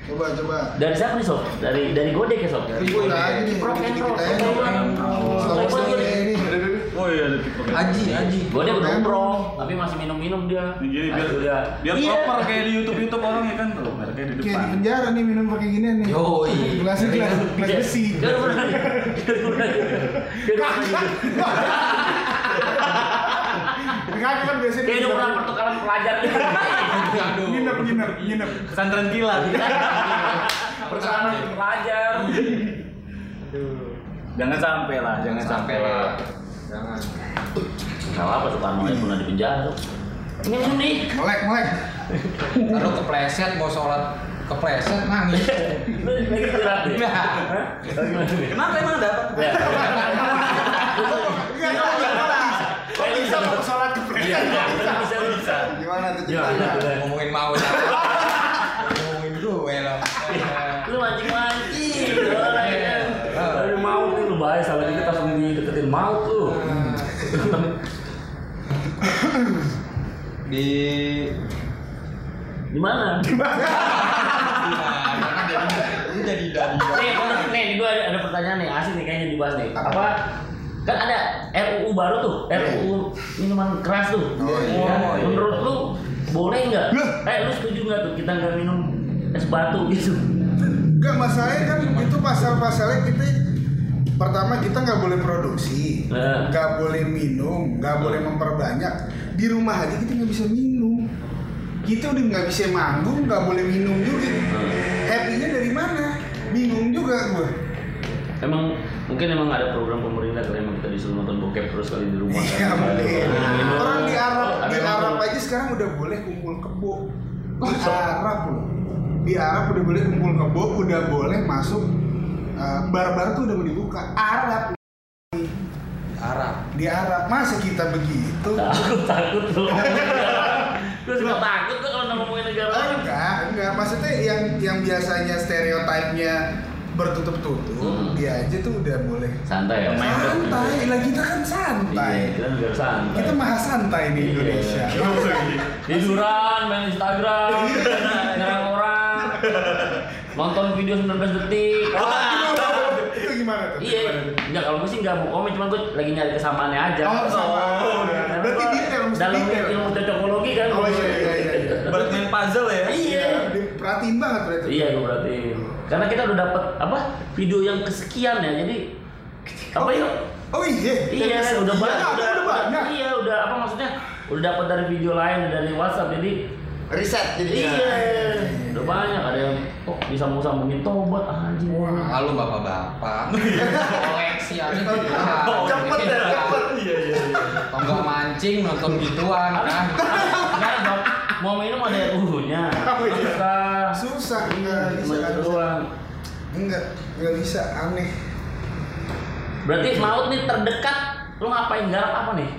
[SPEAKER 2] Coba coba.
[SPEAKER 1] Dari siapa nih sob? Dari dari Godek ya sob?
[SPEAKER 2] Dari gue lagi nih,
[SPEAKER 1] Rock and roll,
[SPEAKER 2] kita
[SPEAKER 1] rock and roll.
[SPEAKER 2] ini. Selamat
[SPEAKER 1] Playboy
[SPEAKER 2] sore
[SPEAKER 1] Godek.
[SPEAKER 2] ini.
[SPEAKER 3] Oh iya ada tipe kayak
[SPEAKER 4] Aji, Aji.
[SPEAKER 1] Godek udah
[SPEAKER 2] Rock and roll.
[SPEAKER 1] umroh, tapi masih minum-minum dia.
[SPEAKER 3] gini biar
[SPEAKER 1] Aduh, udah.
[SPEAKER 3] biar
[SPEAKER 1] Iya.
[SPEAKER 3] proper kayak di YouTube YouTube orang ya kan oh, mereknya di
[SPEAKER 2] Kayak
[SPEAKER 3] depan.
[SPEAKER 2] di penjara nih minum pakai ginian nih.
[SPEAKER 4] Yoi.
[SPEAKER 2] Gelasnya gelas gelas
[SPEAKER 1] Iya.
[SPEAKER 2] besi.
[SPEAKER 1] Dia udah pernah. Dia udah pernah. Dia udah pernah.
[SPEAKER 2] Kakak kan biasanya
[SPEAKER 1] Dia udah pernah pertukaran pelajar.
[SPEAKER 4] Aduh.
[SPEAKER 2] nginep nginep nginep.
[SPEAKER 3] Pesantren kilat.
[SPEAKER 1] Pertukaran pelajar.
[SPEAKER 3] jangan sampai lah, jangan sampai.
[SPEAKER 4] Sampai lah.
[SPEAKER 5] Jangan.
[SPEAKER 1] Gak apa tuh kan, pernah di penjara. Ini minum nih.
[SPEAKER 2] Melek melek.
[SPEAKER 1] Iya.
[SPEAKER 4] Aduh kepleset mau sholat kepleset nangis.
[SPEAKER 1] Lu Lagi curhat nih.
[SPEAKER 4] Nah.
[SPEAKER 1] Hah?
[SPEAKER 3] Kenapa emang ada apa?
[SPEAKER 1] Ya.
[SPEAKER 2] Enggak kalau enggak salah. Kok bisa mau sholat ke
[SPEAKER 1] Iya, bisa, bisa, bisa.
[SPEAKER 2] Gimana tuh
[SPEAKER 1] Ya,
[SPEAKER 2] ceritanya?
[SPEAKER 1] udah.
[SPEAKER 4] Ngomongin mau. ya. Ngomongin gue lah.
[SPEAKER 1] lu mancing mancing lu mau nih lu bahaya salah dikit langsung dideketin mau tuh Hmm.
[SPEAKER 4] Di
[SPEAKER 1] di mana
[SPEAKER 4] Nah, jadi lu jadi dari
[SPEAKER 1] nih gua- nih gue ada, ada pertanyaan nih asik nih kayaknya dibahas nih
[SPEAKER 2] Apa?
[SPEAKER 1] apa kan ada RUU baru tuh RUU minuman keras tuh
[SPEAKER 2] Iya. Oh,
[SPEAKER 4] iya.
[SPEAKER 1] Wah, menurut lu boleh nggak
[SPEAKER 2] Lah.
[SPEAKER 1] eh lu setuju nggak tuh kita nggak minum es batu gitu
[SPEAKER 2] Enggak masalahnya kan itu pasal-pasalnya kita pertama kita nggak boleh produksi,
[SPEAKER 1] Nah.
[SPEAKER 2] nggak boleh minum, nggak boleh memperbanyak. Di rumah aja kita nggak bisa minum. Kita udah nggak bisa manggung, nggak boleh minum juga. Happy-nya dari mana? Bingung juga gue.
[SPEAKER 1] Emang mungkin emang ada program pemerintah kali emang kita disuruh nonton bokep terus kali di rumah.
[SPEAKER 2] Iya mungkin.
[SPEAKER 1] Minum.
[SPEAKER 2] Orang di Arab, di
[SPEAKER 1] Ada yang
[SPEAKER 2] Arab
[SPEAKER 1] nonton.
[SPEAKER 2] aja sekarang udah boleh kumpul kebo. Di Arab loh. Di Arab udah boleh kumpul kebo, udah boleh masuk eh, bar-bar tuh udah mau dibuka. Arab
[SPEAKER 4] Arab.
[SPEAKER 2] di Arab masa kita begitu?
[SPEAKER 1] takut takut tuh gue suka takut tuh kalau ngomongin negara
[SPEAKER 2] Oh,
[SPEAKER 1] lain
[SPEAKER 2] enggak, enggak. Maksudnya yang yang biasanya stereotipnya bertutup-tutup,
[SPEAKER 1] Hmm.
[SPEAKER 2] dia aja tuh udah boleh.
[SPEAKER 1] santai ya
[SPEAKER 2] Santai, lah kita kan santai.
[SPEAKER 1] iya kita negara santai
[SPEAKER 2] Kita maha santai di
[SPEAKER 1] Iya.
[SPEAKER 2] Indonesia.
[SPEAKER 1] tiduran main Instagram nyerang orang nonton video 19 detik
[SPEAKER 2] Oh. Itu gimana tuh?
[SPEAKER 1] iya
[SPEAKER 2] Gimana tuh?
[SPEAKER 1] enggak kalau gue sih nggak mau komen cuma gue lagi nyari kesamaannya aja
[SPEAKER 2] Oh, kesamaan.
[SPEAKER 1] Karena
[SPEAKER 2] Berarti
[SPEAKER 1] gua
[SPEAKER 2] detail, mesti
[SPEAKER 1] dalam
[SPEAKER 2] detail.
[SPEAKER 1] ilmu cocokologi kan
[SPEAKER 2] Oh iya iya iya. iya.
[SPEAKER 3] Berat main puzzle ya.
[SPEAKER 1] iya
[SPEAKER 2] Diperhatiin banget berarti.
[SPEAKER 1] Iya gue berarti. Karena kita udah dapat apa video yang kesekian ya, jadi apa yuk?
[SPEAKER 2] Oh iya.
[SPEAKER 1] Iya, udah banyak.
[SPEAKER 2] Udah, udah banyak.
[SPEAKER 1] Iya, udah apa maksudnya? Udah dapat dari video lain dari WhatsApp, jadi
[SPEAKER 5] Riset
[SPEAKER 1] iya,
[SPEAKER 5] jadinya.
[SPEAKER 1] udah banyak ada yang kok bisa mau sambungin tobat anjing.
[SPEAKER 4] Halo bapak-bapak. Koleksi aja gitu.
[SPEAKER 3] Oh,
[SPEAKER 5] Cepet ya, cepet.
[SPEAKER 3] Iya iya.
[SPEAKER 4] Kalau nggak mancing nonton gituan kan.
[SPEAKER 1] Enggak, Dok. mau minum ada uhunya.
[SPEAKER 2] Oh, iya.
[SPEAKER 1] Susah.
[SPEAKER 2] Susah
[SPEAKER 1] Iya,
[SPEAKER 2] enggak bisa.
[SPEAKER 1] cuma
[SPEAKER 2] nggak
[SPEAKER 1] itu
[SPEAKER 2] bisa.
[SPEAKER 1] doang.
[SPEAKER 2] Enggak, enggak bisa aneh.
[SPEAKER 1] Berarti maut nih terdekat, lu ngapain garap apa nih?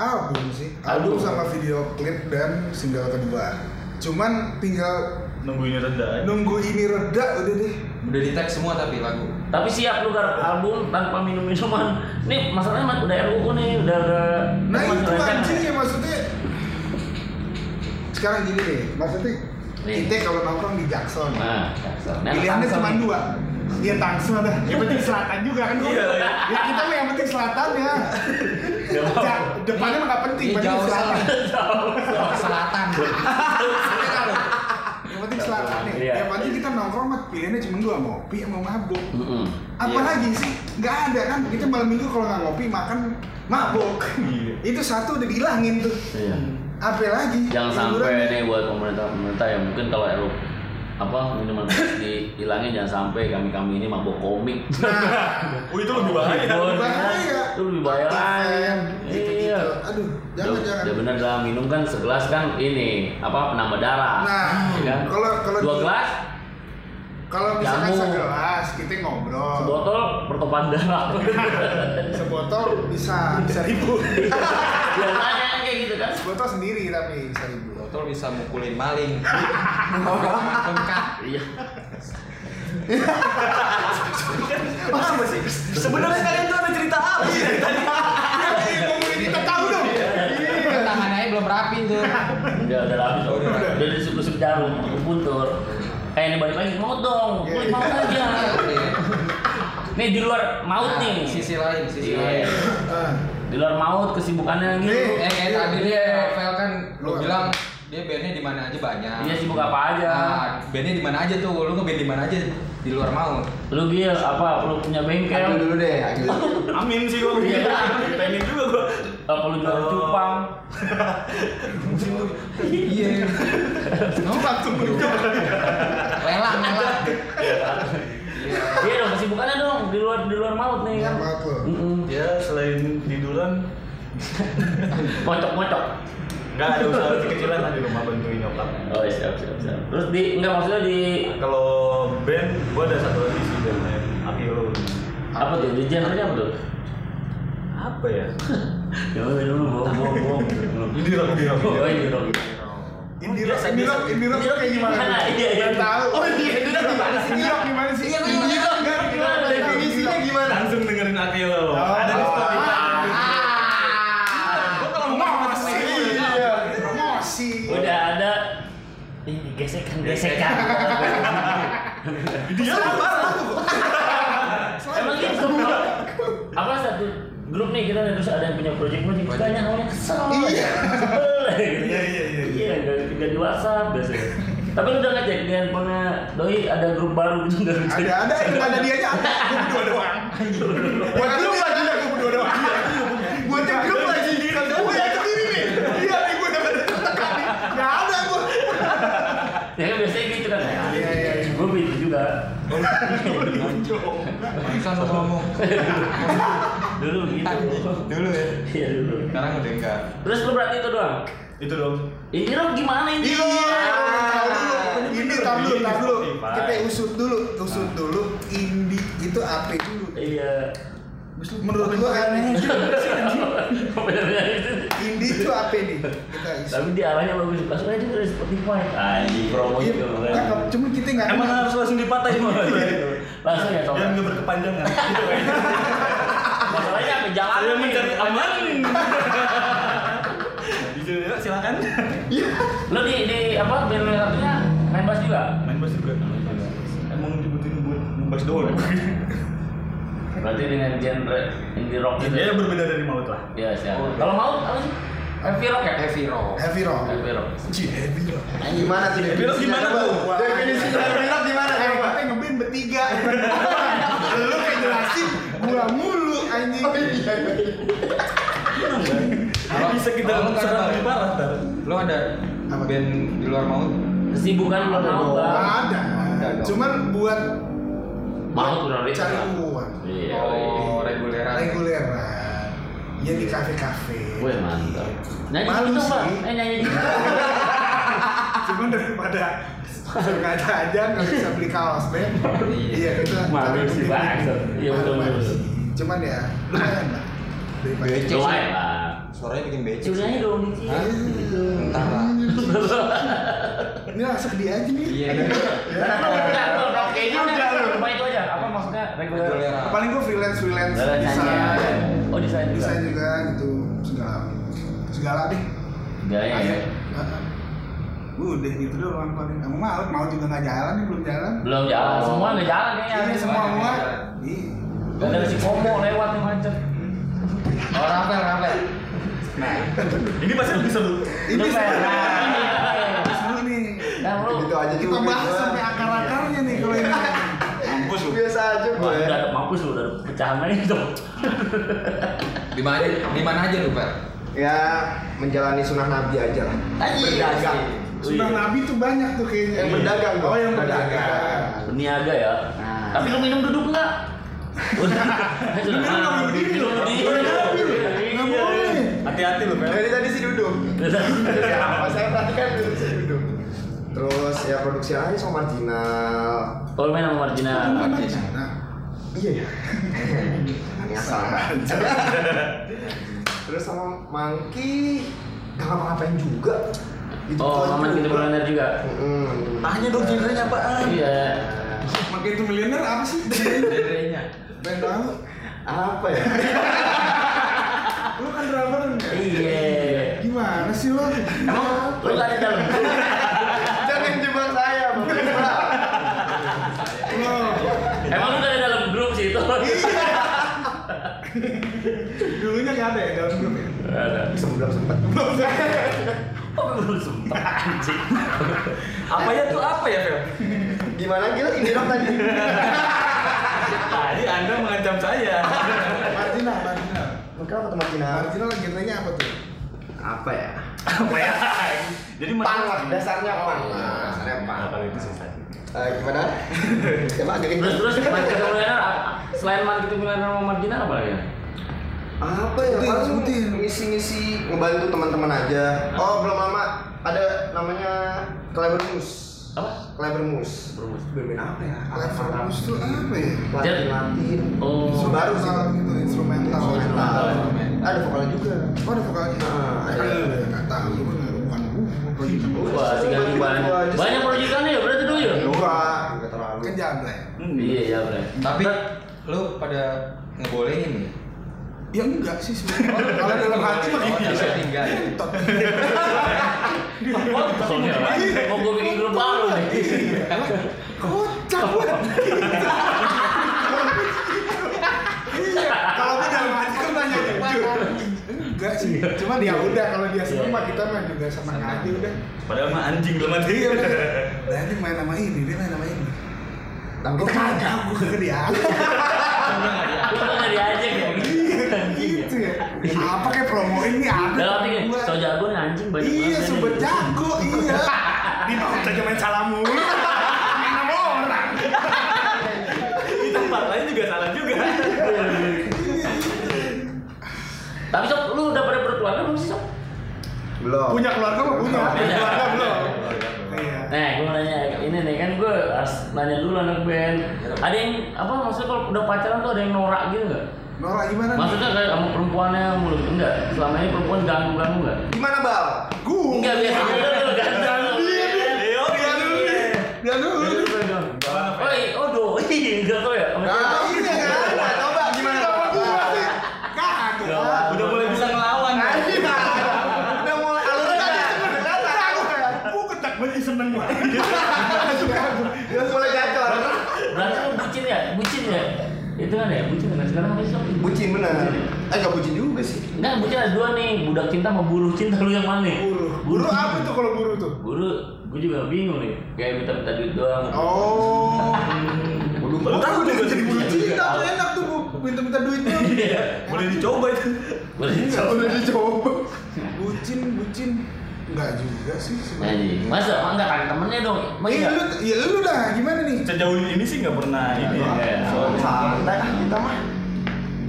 [SPEAKER 2] Album sih.
[SPEAKER 1] Album.
[SPEAKER 2] Album sama video klip dan single kedua. Cuman tinggal
[SPEAKER 3] Nungguinnya reda. aja.
[SPEAKER 2] nunggu ini reda udah deh.
[SPEAKER 4] Udah di tag semua tapi lagu.
[SPEAKER 1] Tapi siap lu garap album tanpa minum minuman. Nih masalahnya Mat, udah RUU nih, udah ada.
[SPEAKER 2] Nah
[SPEAKER 1] masih
[SPEAKER 2] itu
[SPEAKER 1] rancangan.
[SPEAKER 2] anjing ya maksudnya. Sekarang gini deh, maksudnya
[SPEAKER 1] Nih.
[SPEAKER 2] kita kalau nongkrong di Jackson,
[SPEAKER 1] Nah, Jackson. Nah,
[SPEAKER 2] pilihannya
[SPEAKER 1] Jackson.
[SPEAKER 2] cuma dua. Iya Tangsel dah. Yang penting selatan juga kan. Iya. Ya kita mah yang penting selatan ya. Ja, depannya mah nggak penting,
[SPEAKER 4] Ini
[SPEAKER 2] penting
[SPEAKER 4] jauh
[SPEAKER 2] selatan.
[SPEAKER 4] sekali. Selatan.
[SPEAKER 2] Yang penting selatan ya.
[SPEAKER 1] Iya.
[SPEAKER 2] Yang penting kita nongkrong mah pilihannya cuma dua, ngopi sama mabuk.
[SPEAKER 1] Mm-mm.
[SPEAKER 2] Apalagi sih? Nggak ada kan. Kita malam minggu kalau nggak ngopi makan mabuk.
[SPEAKER 3] Iya.
[SPEAKER 2] Itu satu udah dihilangin tuh.
[SPEAKER 1] Iya.
[SPEAKER 2] Apa lagi?
[SPEAKER 1] Jangan
[SPEAKER 2] Hiburan.
[SPEAKER 1] sampai nih buat pemerintah-pemerintah yang mungkin kalau RUU apa minuman keras dihilangin jangan sampai kami kami ini mabok komik.
[SPEAKER 2] Nah,
[SPEAKER 3] Oh itu lebih bahaya.
[SPEAKER 1] Bon,
[SPEAKER 2] bahaya. Gitu,
[SPEAKER 1] Itu lebih bahaya.
[SPEAKER 2] Bahaya.
[SPEAKER 1] Iya.
[SPEAKER 2] aduh, gitu. jangan
[SPEAKER 1] Jangan,
[SPEAKER 2] jangan.
[SPEAKER 1] Ya benar lah minum kan segelas kan ini apa penambah darah.
[SPEAKER 2] Nah,
[SPEAKER 1] Ya kan?
[SPEAKER 2] kalau kalau
[SPEAKER 1] dua
[SPEAKER 2] di-
[SPEAKER 1] gelas
[SPEAKER 2] kalau misalkan
[SPEAKER 1] Jamu.
[SPEAKER 2] segelas kita ngobrol.
[SPEAKER 1] sebotol pertopan darah.
[SPEAKER 2] sebotol bisa bisa ribu
[SPEAKER 1] Biasanya kan kayak gitu kan.
[SPEAKER 2] sebotol sendiri tapi bisa ribu
[SPEAKER 4] Botol bisa mukulin maling. Lengkap.
[SPEAKER 1] Iya.
[SPEAKER 3] Sebenarnya kalian tuh ada cerita apa sih?
[SPEAKER 2] kita tahu dong
[SPEAKER 4] tuh.
[SPEAKER 1] Enggak, udah habis.
[SPEAKER 4] Oh, udah.
[SPEAKER 1] Udah disusuk-susuk jarum, buntur. Eh, ini balik lagi maut dong. Kulit
[SPEAKER 2] Iya.
[SPEAKER 1] maut aja. Nih di luar maut
[SPEAKER 2] Nah,
[SPEAKER 1] nih.
[SPEAKER 4] Sisi lain, sisi
[SPEAKER 1] Iya.
[SPEAKER 4] lain.
[SPEAKER 2] Ah,
[SPEAKER 1] Di luar maut kesibukannya gitu.
[SPEAKER 4] Eh kayak
[SPEAKER 3] Iya.
[SPEAKER 4] tadi dia Rafael kan lu
[SPEAKER 2] Lu apa?
[SPEAKER 4] bilang dia bandnya di mana aja banyak.
[SPEAKER 1] Dia Iya, sibuk apa aja?
[SPEAKER 4] Nah, bandnya di mana aja tuh? Lu ngeband di mana aja? Di luar maut.
[SPEAKER 1] Lu gil apa? Lu punya
[SPEAKER 5] Aduh
[SPEAKER 1] bengkel?
[SPEAKER 5] dulu deh,
[SPEAKER 3] Iya,
[SPEAKER 5] aduh.
[SPEAKER 3] gitu. Amin sih gua
[SPEAKER 1] Iya.
[SPEAKER 3] Pengen juga gua.
[SPEAKER 1] Apa lu jual cupang?
[SPEAKER 4] Iya.
[SPEAKER 2] langsung menjawab.
[SPEAKER 4] Lelang, lelang.
[SPEAKER 1] Iya dong kesibukannya dong di luar di luar maut nih
[SPEAKER 2] Iya,
[SPEAKER 1] kan.
[SPEAKER 2] maut lu.
[SPEAKER 1] Mm-mm.
[SPEAKER 3] Ya selain tiduran
[SPEAKER 1] Kocok-kocok.
[SPEAKER 3] nggak ada usaha kecilan lah di rumah bantuin nyokap.
[SPEAKER 1] Oh siap siap siap. Terus di enggak maksudnya di
[SPEAKER 3] Kalau band gua ada satu lagi sih band lain. Api lu.
[SPEAKER 1] apa tuh di genre-nya apa tuh?
[SPEAKER 3] Apa ya?
[SPEAKER 1] Ya udah dulu bohong bohong bohong.
[SPEAKER 3] Ini rock ini rock.
[SPEAKER 1] Oh iya dong.
[SPEAKER 2] Indie
[SPEAKER 3] Biasa,
[SPEAKER 2] rock, indie
[SPEAKER 3] biasa.
[SPEAKER 2] rock, indie rock tuh kayak gimana?
[SPEAKER 1] Gimana? Iya, iya.
[SPEAKER 2] Nggak tahu.
[SPEAKER 1] Oh, iya, indie rock gimana sih?
[SPEAKER 2] Indie rock gimana sih?
[SPEAKER 1] Iya, gua juga nggak tahu.
[SPEAKER 2] Indie rock,
[SPEAKER 1] Gimana
[SPEAKER 2] nggak tahu.
[SPEAKER 1] definisinya
[SPEAKER 2] gimana?
[SPEAKER 3] Langsung dengerin Api lu.
[SPEAKER 2] Oh,
[SPEAKER 3] Ada di
[SPEAKER 2] ah,
[SPEAKER 3] Spotify.
[SPEAKER 2] ah.
[SPEAKER 3] Gua kalau mau sama temen
[SPEAKER 2] Promosi,
[SPEAKER 3] gua, ya.
[SPEAKER 2] iya, promosi.
[SPEAKER 1] Udah ada ini gesekan gesekan.
[SPEAKER 2] Iya.
[SPEAKER 3] Dia apa?
[SPEAKER 1] Emang gitu. Apa satu grup nih kita terus ada yang punya project project kayaknya awalnya kesel.
[SPEAKER 2] Iya.
[SPEAKER 1] Sebel.
[SPEAKER 3] Iya, iya, iya.
[SPEAKER 1] Iya nggak nggak di WhatsApp biasanya. Tapi lu udah ngecek di handphonenya Doi ada grup baru gitu nggak lu cek?
[SPEAKER 2] Ada, ada, ada, ada dia aja. ada. Gua berdua doang. Buat grup lagi, udah gua berdua doang. Iya. Buat di grup lagi, kata gua yang sendiri nih. Iya, nih gua udah ada tertekan nih. Nggak ada gua.
[SPEAKER 1] Ya kan biasanya gitu kan. ya.
[SPEAKER 2] Iya, iya, iya.
[SPEAKER 1] Gua begitu juga.
[SPEAKER 4] Bisa lu ngomong.
[SPEAKER 1] Dulu begitu.
[SPEAKER 4] Dulu ya.
[SPEAKER 1] Iya dulu.
[SPEAKER 4] Sekarang udah enggak.
[SPEAKER 1] Terus lu berarti itu doang.
[SPEAKER 3] Itu dong.
[SPEAKER 1] Ini rock gimana ini?
[SPEAKER 2] Iya, tahu dulu. Ini tar dulu, tar dulu. Kita usut dulu, usut dulu. Indie itu apa dulu?
[SPEAKER 1] Iya.
[SPEAKER 2] Menurut gua kan aneh.
[SPEAKER 1] Bener-bener itu.
[SPEAKER 2] Indie itu apa nih? Kita isu.
[SPEAKER 1] Tapi di arahnya bagus. Langsung aja dari Spotify. Ah, Anjing promo
[SPEAKER 2] Iya,
[SPEAKER 1] juga.
[SPEAKER 2] cakep.
[SPEAKER 1] makanya.
[SPEAKER 2] Cuma kita nggak
[SPEAKER 3] Emang
[SPEAKER 2] kenal.
[SPEAKER 3] harus langsung dipatahin Bang?
[SPEAKER 1] Langsung ya
[SPEAKER 3] Jangan
[SPEAKER 1] Tom.
[SPEAKER 3] nggak berkepanjangan. Gitu, Bang.
[SPEAKER 1] Masalahnya apa jalan?
[SPEAKER 3] Saya
[SPEAKER 1] nih.
[SPEAKER 3] mencari aman. Bisa ya, silakan.
[SPEAKER 1] Lo di di apa band lo yang satunya main bass juga?
[SPEAKER 3] Main bass juga. Emang dibutuhin buat bass doang.
[SPEAKER 5] Iya.
[SPEAKER 1] Berarti dengan genre indie rock gitu.
[SPEAKER 3] Dia berbeda dari maut lah.
[SPEAKER 1] Iya, siap. Kalau mau apa sih? Heavy rock ya?
[SPEAKER 4] Heavy rock.
[SPEAKER 2] Heavy rock.
[SPEAKER 1] Heavy rock.
[SPEAKER 2] Ci, heavy rock.
[SPEAKER 5] Nah, gimana tuh
[SPEAKER 3] Heavy rock gimana
[SPEAKER 5] coba?
[SPEAKER 3] tuh?
[SPEAKER 5] Definisi heavy rock gimana
[SPEAKER 2] Eh,
[SPEAKER 5] coba?
[SPEAKER 2] kita ngeband bertiga. Lu kayak jelasin gua mulu anjing.
[SPEAKER 4] Kalau-
[SPEAKER 3] Bisa kita
[SPEAKER 4] kalau lu nggak
[SPEAKER 3] serang
[SPEAKER 4] ada-
[SPEAKER 3] lebih parah ntar.
[SPEAKER 4] Lu ada
[SPEAKER 2] Apa?
[SPEAKER 4] band di luar maut?
[SPEAKER 1] Kesibukan lo mau bang?
[SPEAKER 2] Ada.
[SPEAKER 4] Ada dong.
[SPEAKER 2] Cuman buat
[SPEAKER 1] Mau kurang lebih.
[SPEAKER 2] cari uang.
[SPEAKER 1] Iya.
[SPEAKER 4] Oh,
[SPEAKER 1] iya.
[SPEAKER 4] reguleran.
[SPEAKER 2] Reguleran. Ya di kafe-kafe.
[SPEAKER 1] Wih mantap. Nyanyi
[SPEAKER 2] Malu
[SPEAKER 1] gitu
[SPEAKER 2] sih.
[SPEAKER 1] bang? Eh nyanyi gitu.
[SPEAKER 2] Cuman daripada sengaja aja nggak bisa beli kaos, Ben. Iya, kita
[SPEAKER 1] Malu sih, Bang. Iya,
[SPEAKER 2] Malu,
[SPEAKER 1] betul, Iya.
[SPEAKER 2] Bang.
[SPEAKER 1] betul.
[SPEAKER 2] Cuman ya, lumayan lah. Daripada-
[SPEAKER 4] Becek sih.
[SPEAKER 1] Lumayan lah.
[SPEAKER 4] Suaranya bikin becek.
[SPEAKER 1] Curianya
[SPEAKER 4] sih.
[SPEAKER 1] dong Cici.
[SPEAKER 4] Hah? Entah lah.
[SPEAKER 2] Ini langsung dia aja nih. Ya,
[SPEAKER 4] Iya.
[SPEAKER 1] Udah, tuh, udah, kayaknya
[SPEAKER 2] Udah,
[SPEAKER 1] udah,
[SPEAKER 2] lu.
[SPEAKER 1] Cuma itu aja. Apa maksudnya reguler?
[SPEAKER 4] Reguleran.
[SPEAKER 2] Paling gue freelance freelance
[SPEAKER 1] Reguler
[SPEAKER 2] bisa
[SPEAKER 1] nyanyi. Oh desain
[SPEAKER 2] bisa
[SPEAKER 1] juga.
[SPEAKER 2] juga gitu segala segala deh.
[SPEAKER 1] Gaya ya.
[SPEAKER 2] Udah gitu doang paling. Kamu mau mau juga nggak jalan nih belum jalan. Iya,
[SPEAKER 1] Belum jalan, semua nggak jalan kayaknya.
[SPEAKER 2] Ini semua
[SPEAKER 4] jalan.
[SPEAKER 2] semua. Iya.
[SPEAKER 1] Gak ada si komo lewat nih macet.
[SPEAKER 4] Oh, Rafael, Rafael.
[SPEAKER 3] Ini pasti lebih seru.
[SPEAKER 2] Ini
[SPEAKER 1] Lu
[SPEAKER 2] seru.
[SPEAKER 1] kayak-
[SPEAKER 2] Ini seru nih.
[SPEAKER 1] Nah, lu
[SPEAKER 5] Gitu aja
[SPEAKER 2] Kita
[SPEAKER 5] juga
[SPEAKER 2] bahas
[SPEAKER 5] gua.
[SPEAKER 2] sampai akar-akarnya nih kalau ini.
[SPEAKER 3] Mampus lu.
[SPEAKER 5] Biasa aja
[SPEAKER 1] Wah,
[SPEAKER 5] gue.
[SPEAKER 1] udah ada mampus lu, udah ada pecahan lagi dong.
[SPEAKER 4] Di mana di mana aja lu, Pak?
[SPEAKER 5] Ya menjalani sunnah Nabi aja lah. Berdagang.
[SPEAKER 2] Sudah
[SPEAKER 5] Iya.
[SPEAKER 3] Iya.
[SPEAKER 2] nabi tuh banyak tuh kayaknya.
[SPEAKER 5] Yang berdagang.
[SPEAKER 2] Oh yang
[SPEAKER 5] Berdagang.
[SPEAKER 2] berdagang.
[SPEAKER 1] Berniaga ya.
[SPEAKER 5] Nah.
[SPEAKER 1] Tapi lu minum duduk nggak? Udah. Sudah
[SPEAKER 2] Minum nggak berdiri
[SPEAKER 1] Minum
[SPEAKER 2] loh.
[SPEAKER 1] berdiri.
[SPEAKER 2] kan, Nggak
[SPEAKER 1] Iya.
[SPEAKER 2] boleh.
[SPEAKER 3] Hati-hati lu, Bel.
[SPEAKER 5] Dari tadi sih duduk. Apa saya perhatikan duduk sih duduk. Terus ya produksi aja sama marginal.
[SPEAKER 1] Kalau main sama Martina.
[SPEAKER 2] Nah,
[SPEAKER 5] Iya ya. Ini asal aja. Terus sama Mangki nggak ngapa-ngapain juga. Gitu
[SPEAKER 1] Oh,
[SPEAKER 5] doang
[SPEAKER 1] Mamat
[SPEAKER 5] juga.
[SPEAKER 1] gitu bulaner juga.
[SPEAKER 5] Mm-mm.
[SPEAKER 3] Tanya dong genrenya apaan?
[SPEAKER 1] Iya.
[SPEAKER 2] makin tuh milioner apa sih?
[SPEAKER 4] Genrenya.
[SPEAKER 2] Ben tahu.
[SPEAKER 5] Apa ya?
[SPEAKER 2] Lu kan drummer nggak?
[SPEAKER 1] Iya.
[SPEAKER 2] Gimana Gimana sih lo?
[SPEAKER 1] Emang lu gak ada dalam?
[SPEAKER 5] Jangan jebak saya, Bang.
[SPEAKER 1] Emang lu gak ada dalam grup sih itu?
[SPEAKER 2] Dulunya nggak ada ya dalam grup ya?
[SPEAKER 1] Ada.
[SPEAKER 5] Sebelum sempat.
[SPEAKER 1] Kok Oh, belum sempat anjing?
[SPEAKER 3] Apanya tuh apa ya, Fel?
[SPEAKER 5] Gimana gila ini dong tadi?
[SPEAKER 3] Tadi Anda mengancam saya.
[SPEAKER 2] Martina, Martina.
[SPEAKER 5] Mungkin aku ketemu Cina.
[SPEAKER 2] Martina lagi nanya apa tuh?
[SPEAKER 5] Apa ya?
[SPEAKER 3] apa ya? Jadi
[SPEAKER 5] Pang lah, dasarnya pang. Oh, iya. Dasarnya pang.
[SPEAKER 3] Nah, kalau itu susah.
[SPEAKER 5] Eh, gimana? Emang agak
[SPEAKER 1] Eh, Terus
[SPEAKER 5] gitu.
[SPEAKER 1] terus marketing milenial a- selain marketing milenial sama marginal apa lagi?
[SPEAKER 5] Apa ya?
[SPEAKER 2] Rutin,
[SPEAKER 5] Paling
[SPEAKER 2] rutin.
[SPEAKER 5] ngisi-ngisi ngebantu teman-teman aja. Oh, belum lama ada namanya Clever Moose.
[SPEAKER 1] Apa?
[SPEAKER 5] Clever Moose.
[SPEAKER 1] Berumus.
[SPEAKER 5] Band apa ya?
[SPEAKER 2] Leverkus tuh apa ya?
[SPEAKER 5] Latin-latin.
[SPEAKER 1] Oh.
[SPEAKER 5] Baru sih.
[SPEAKER 2] Instrumental gitu, instrumental.
[SPEAKER 5] Instrumental. Ada vokalnya juga.
[SPEAKER 2] Oh, ada vokalnya?
[SPEAKER 5] Ah, ada.
[SPEAKER 2] Eh, nggak tahu, gue nggak- bukan gue, gue gitu.
[SPEAKER 1] Wah, sih kan banyak. Banyak proyekannya ya berarti dulu ya?
[SPEAKER 5] Enggak, enggak terlalu.
[SPEAKER 2] Kan jable.
[SPEAKER 1] Iya, iya, Bre.
[SPEAKER 4] Tapi lu pada ngebolehin nih.
[SPEAKER 2] Ya enggak sih sebenarnya. Kalau dalam hati mah
[SPEAKER 5] Iya,
[SPEAKER 4] Oh,
[SPEAKER 2] gitu.
[SPEAKER 4] dalam tinggal.
[SPEAKER 2] Entot.
[SPEAKER 1] Kontolnya, Bre. Mau gue bikin grup baru nih.
[SPEAKER 2] Iya. Kocak banget. Iya, kalau gue dalam hati kan nanya jujur. Enggak sih.
[SPEAKER 5] Iya.
[SPEAKER 2] Cuma dia udah kalau dia seneng mah kita main juga sama Ngadi udah.
[SPEAKER 3] Padahal mah anjing dalam hati.
[SPEAKER 2] Iya udah. Nanti main sama ini, dia main sama ini.
[SPEAKER 5] Tapi
[SPEAKER 2] Gue kagak, gue kagak dia.
[SPEAKER 1] Lu kan nggak diajak ya?
[SPEAKER 2] Gitu ya. Apa kayak promoin nih ada.
[SPEAKER 1] Dalam hati
[SPEAKER 2] sama
[SPEAKER 1] gini,
[SPEAKER 2] gua.
[SPEAKER 1] so jago nih, anjing banyak
[SPEAKER 2] Iya,
[SPEAKER 1] banget.
[SPEAKER 2] sobat jago, iya. Di mau aja main salam mulu. Main sama orang.
[SPEAKER 3] Di tempat lain juga salah juga.
[SPEAKER 1] Tapi sob, lu udah pada berkeluarga belum sih sob?
[SPEAKER 5] belum.
[SPEAKER 2] Punya keluarga mah punya, punya keluarga belum. Iya.
[SPEAKER 1] Nah, gue mau nanya ini nih kan gue harus nanya dulu anak band. Ada yang apa maksudnya kalau udah pacaran tuh ada yang norak gitu nggak?
[SPEAKER 2] Nora gimana? nih?
[SPEAKER 1] Maksudnya kayak sama perempuannya mulu gitu. enggak? Selama ini perempuan ganggu ganggu nggak?
[SPEAKER 5] Gimana, Bal?
[SPEAKER 2] Gua.
[SPEAKER 1] Enggak biasanya lu lu ganggu.
[SPEAKER 5] Iya,
[SPEAKER 3] Leo dia dulu. iya.
[SPEAKER 2] Dia dulu.
[SPEAKER 1] Oh, iya, oh doi enggak tau ya?
[SPEAKER 2] Ah,
[SPEAKER 1] Sama
[SPEAKER 5] Nah,
[SPEAKER 1] cewek.
[SPEAKER 5] iya kan? Nah, coba gimana?
[SPEAKER 2] Kenapa gua sih? Kagak.
[SPEAKER 3] Udah mulai bisa ngelawan.
[SPEAKER 5] Nah,
[SPEAKER 3] kan?
[SPEAKER 5] iya. Udah mulai alurnya tadi berdata.
[SPEAKER 2] Gua ketak banget seneng banget.
[SPEAKER 5] Udah mulai gacor.
[SPEAKER 1] Berarti lu bucin ya? Bucin ya? Itu kan ya, bucin kan sekarang apa sih sob?
[SPEAKER 5] Bucin bener. Eh, enggak bucin juga sih.
[SPEAKER 1] Enggak, bucin ada dua nih, budak cinta sama buruh cinta lu yang mana? nih?
[SPEAKER 2] Buru. Buru apa tuh kalau buru tuh?
[SPEAKER 1] Buru, gue juga bingung nih. Kayak minta-minta duit doang.
[SPEAKER 2] Oh.
[SPEAKER 5] Belum.
[SPEAKER 3] Baru tahu
[SPEAKER 2] Udah
[SPEAKER 3] juga
[SPEAKER 2] jadi buru
[SPEAKER 3] sendiri.
[SPEAKER 2] cinta tuh enak tuh Bu. minta-minta duitnya.
[SPEAKER 1] Iya.
[SPEAKER 3] Boleh dicoba itu.
[SPEAKER 1] Boleh
[SPEAKER 2] Iya,
[SPEAKER 1] dicoba.
[SPEAKER 2] udah dicoba. Bucin, bucin. Enggak juga sih sebenarnya.
[SPEAKER 1] Anjing. Masa emang enggak tanya temennya dong? Emang
[SPEAKER 2] Iya
[SPEAKER 1] iya?
[SPEAKER 2] lu, iya lu dah gimana nih?
[SPEAKER 3] Sejauh ini sih nggak pernah ini.
[SPEAKER 5] Iya.
[SPEAKER 3] ya. Soalnya
[SPEAKER 5] Santai ah kita mah.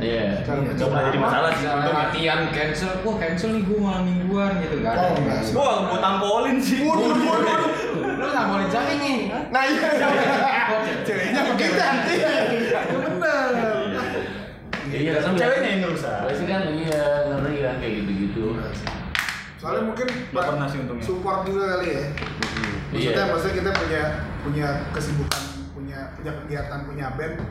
[SPEAKER 1] Iya.
[SPEAKER 3] nggak pernah jadi masalah sih.
[SPEAKER 5] Iya.
[SPEAKER 4] Misalnya
[SPEAKER 3] untungnya.
[SPEAKER 4] latihan cancel, wah cancel nih gue malam mingguan gitu nggak ada.
[SPEAKER 2] Oh, nggak sih.
[SPEAKER 3] Wah, gua tampolin sih.
[SPEAKER 5] Waduh, waduh.
[SPEAKER 4] Lu nggak boleh cari nih.
[SPEAKER 5] Nah, iya.
[SPEAKER 2] Ceweknya begitu nanti. Bener.
[SPEAKER 1] Iya, kan
[SPEAKER 3] Ceweknya
[SPEAKER 1] biasa-
[SPEAKER 3] yang ngerusak.
[SPEAKER 1] Biasanya kan iya ngeri kan kayak gitu-gitu.
[SPEAKER 2] Soalnya mungkin
[SPEAKER 3] Nggak pernah sih untungnya.
[SPEAKER 2] support juga kali ya.
[SPEAKER 1] Iya.
[SPEAKER 2] Maksudnya, maksudnya kita punya punya kesibukan, punya punya kegiatan, punya band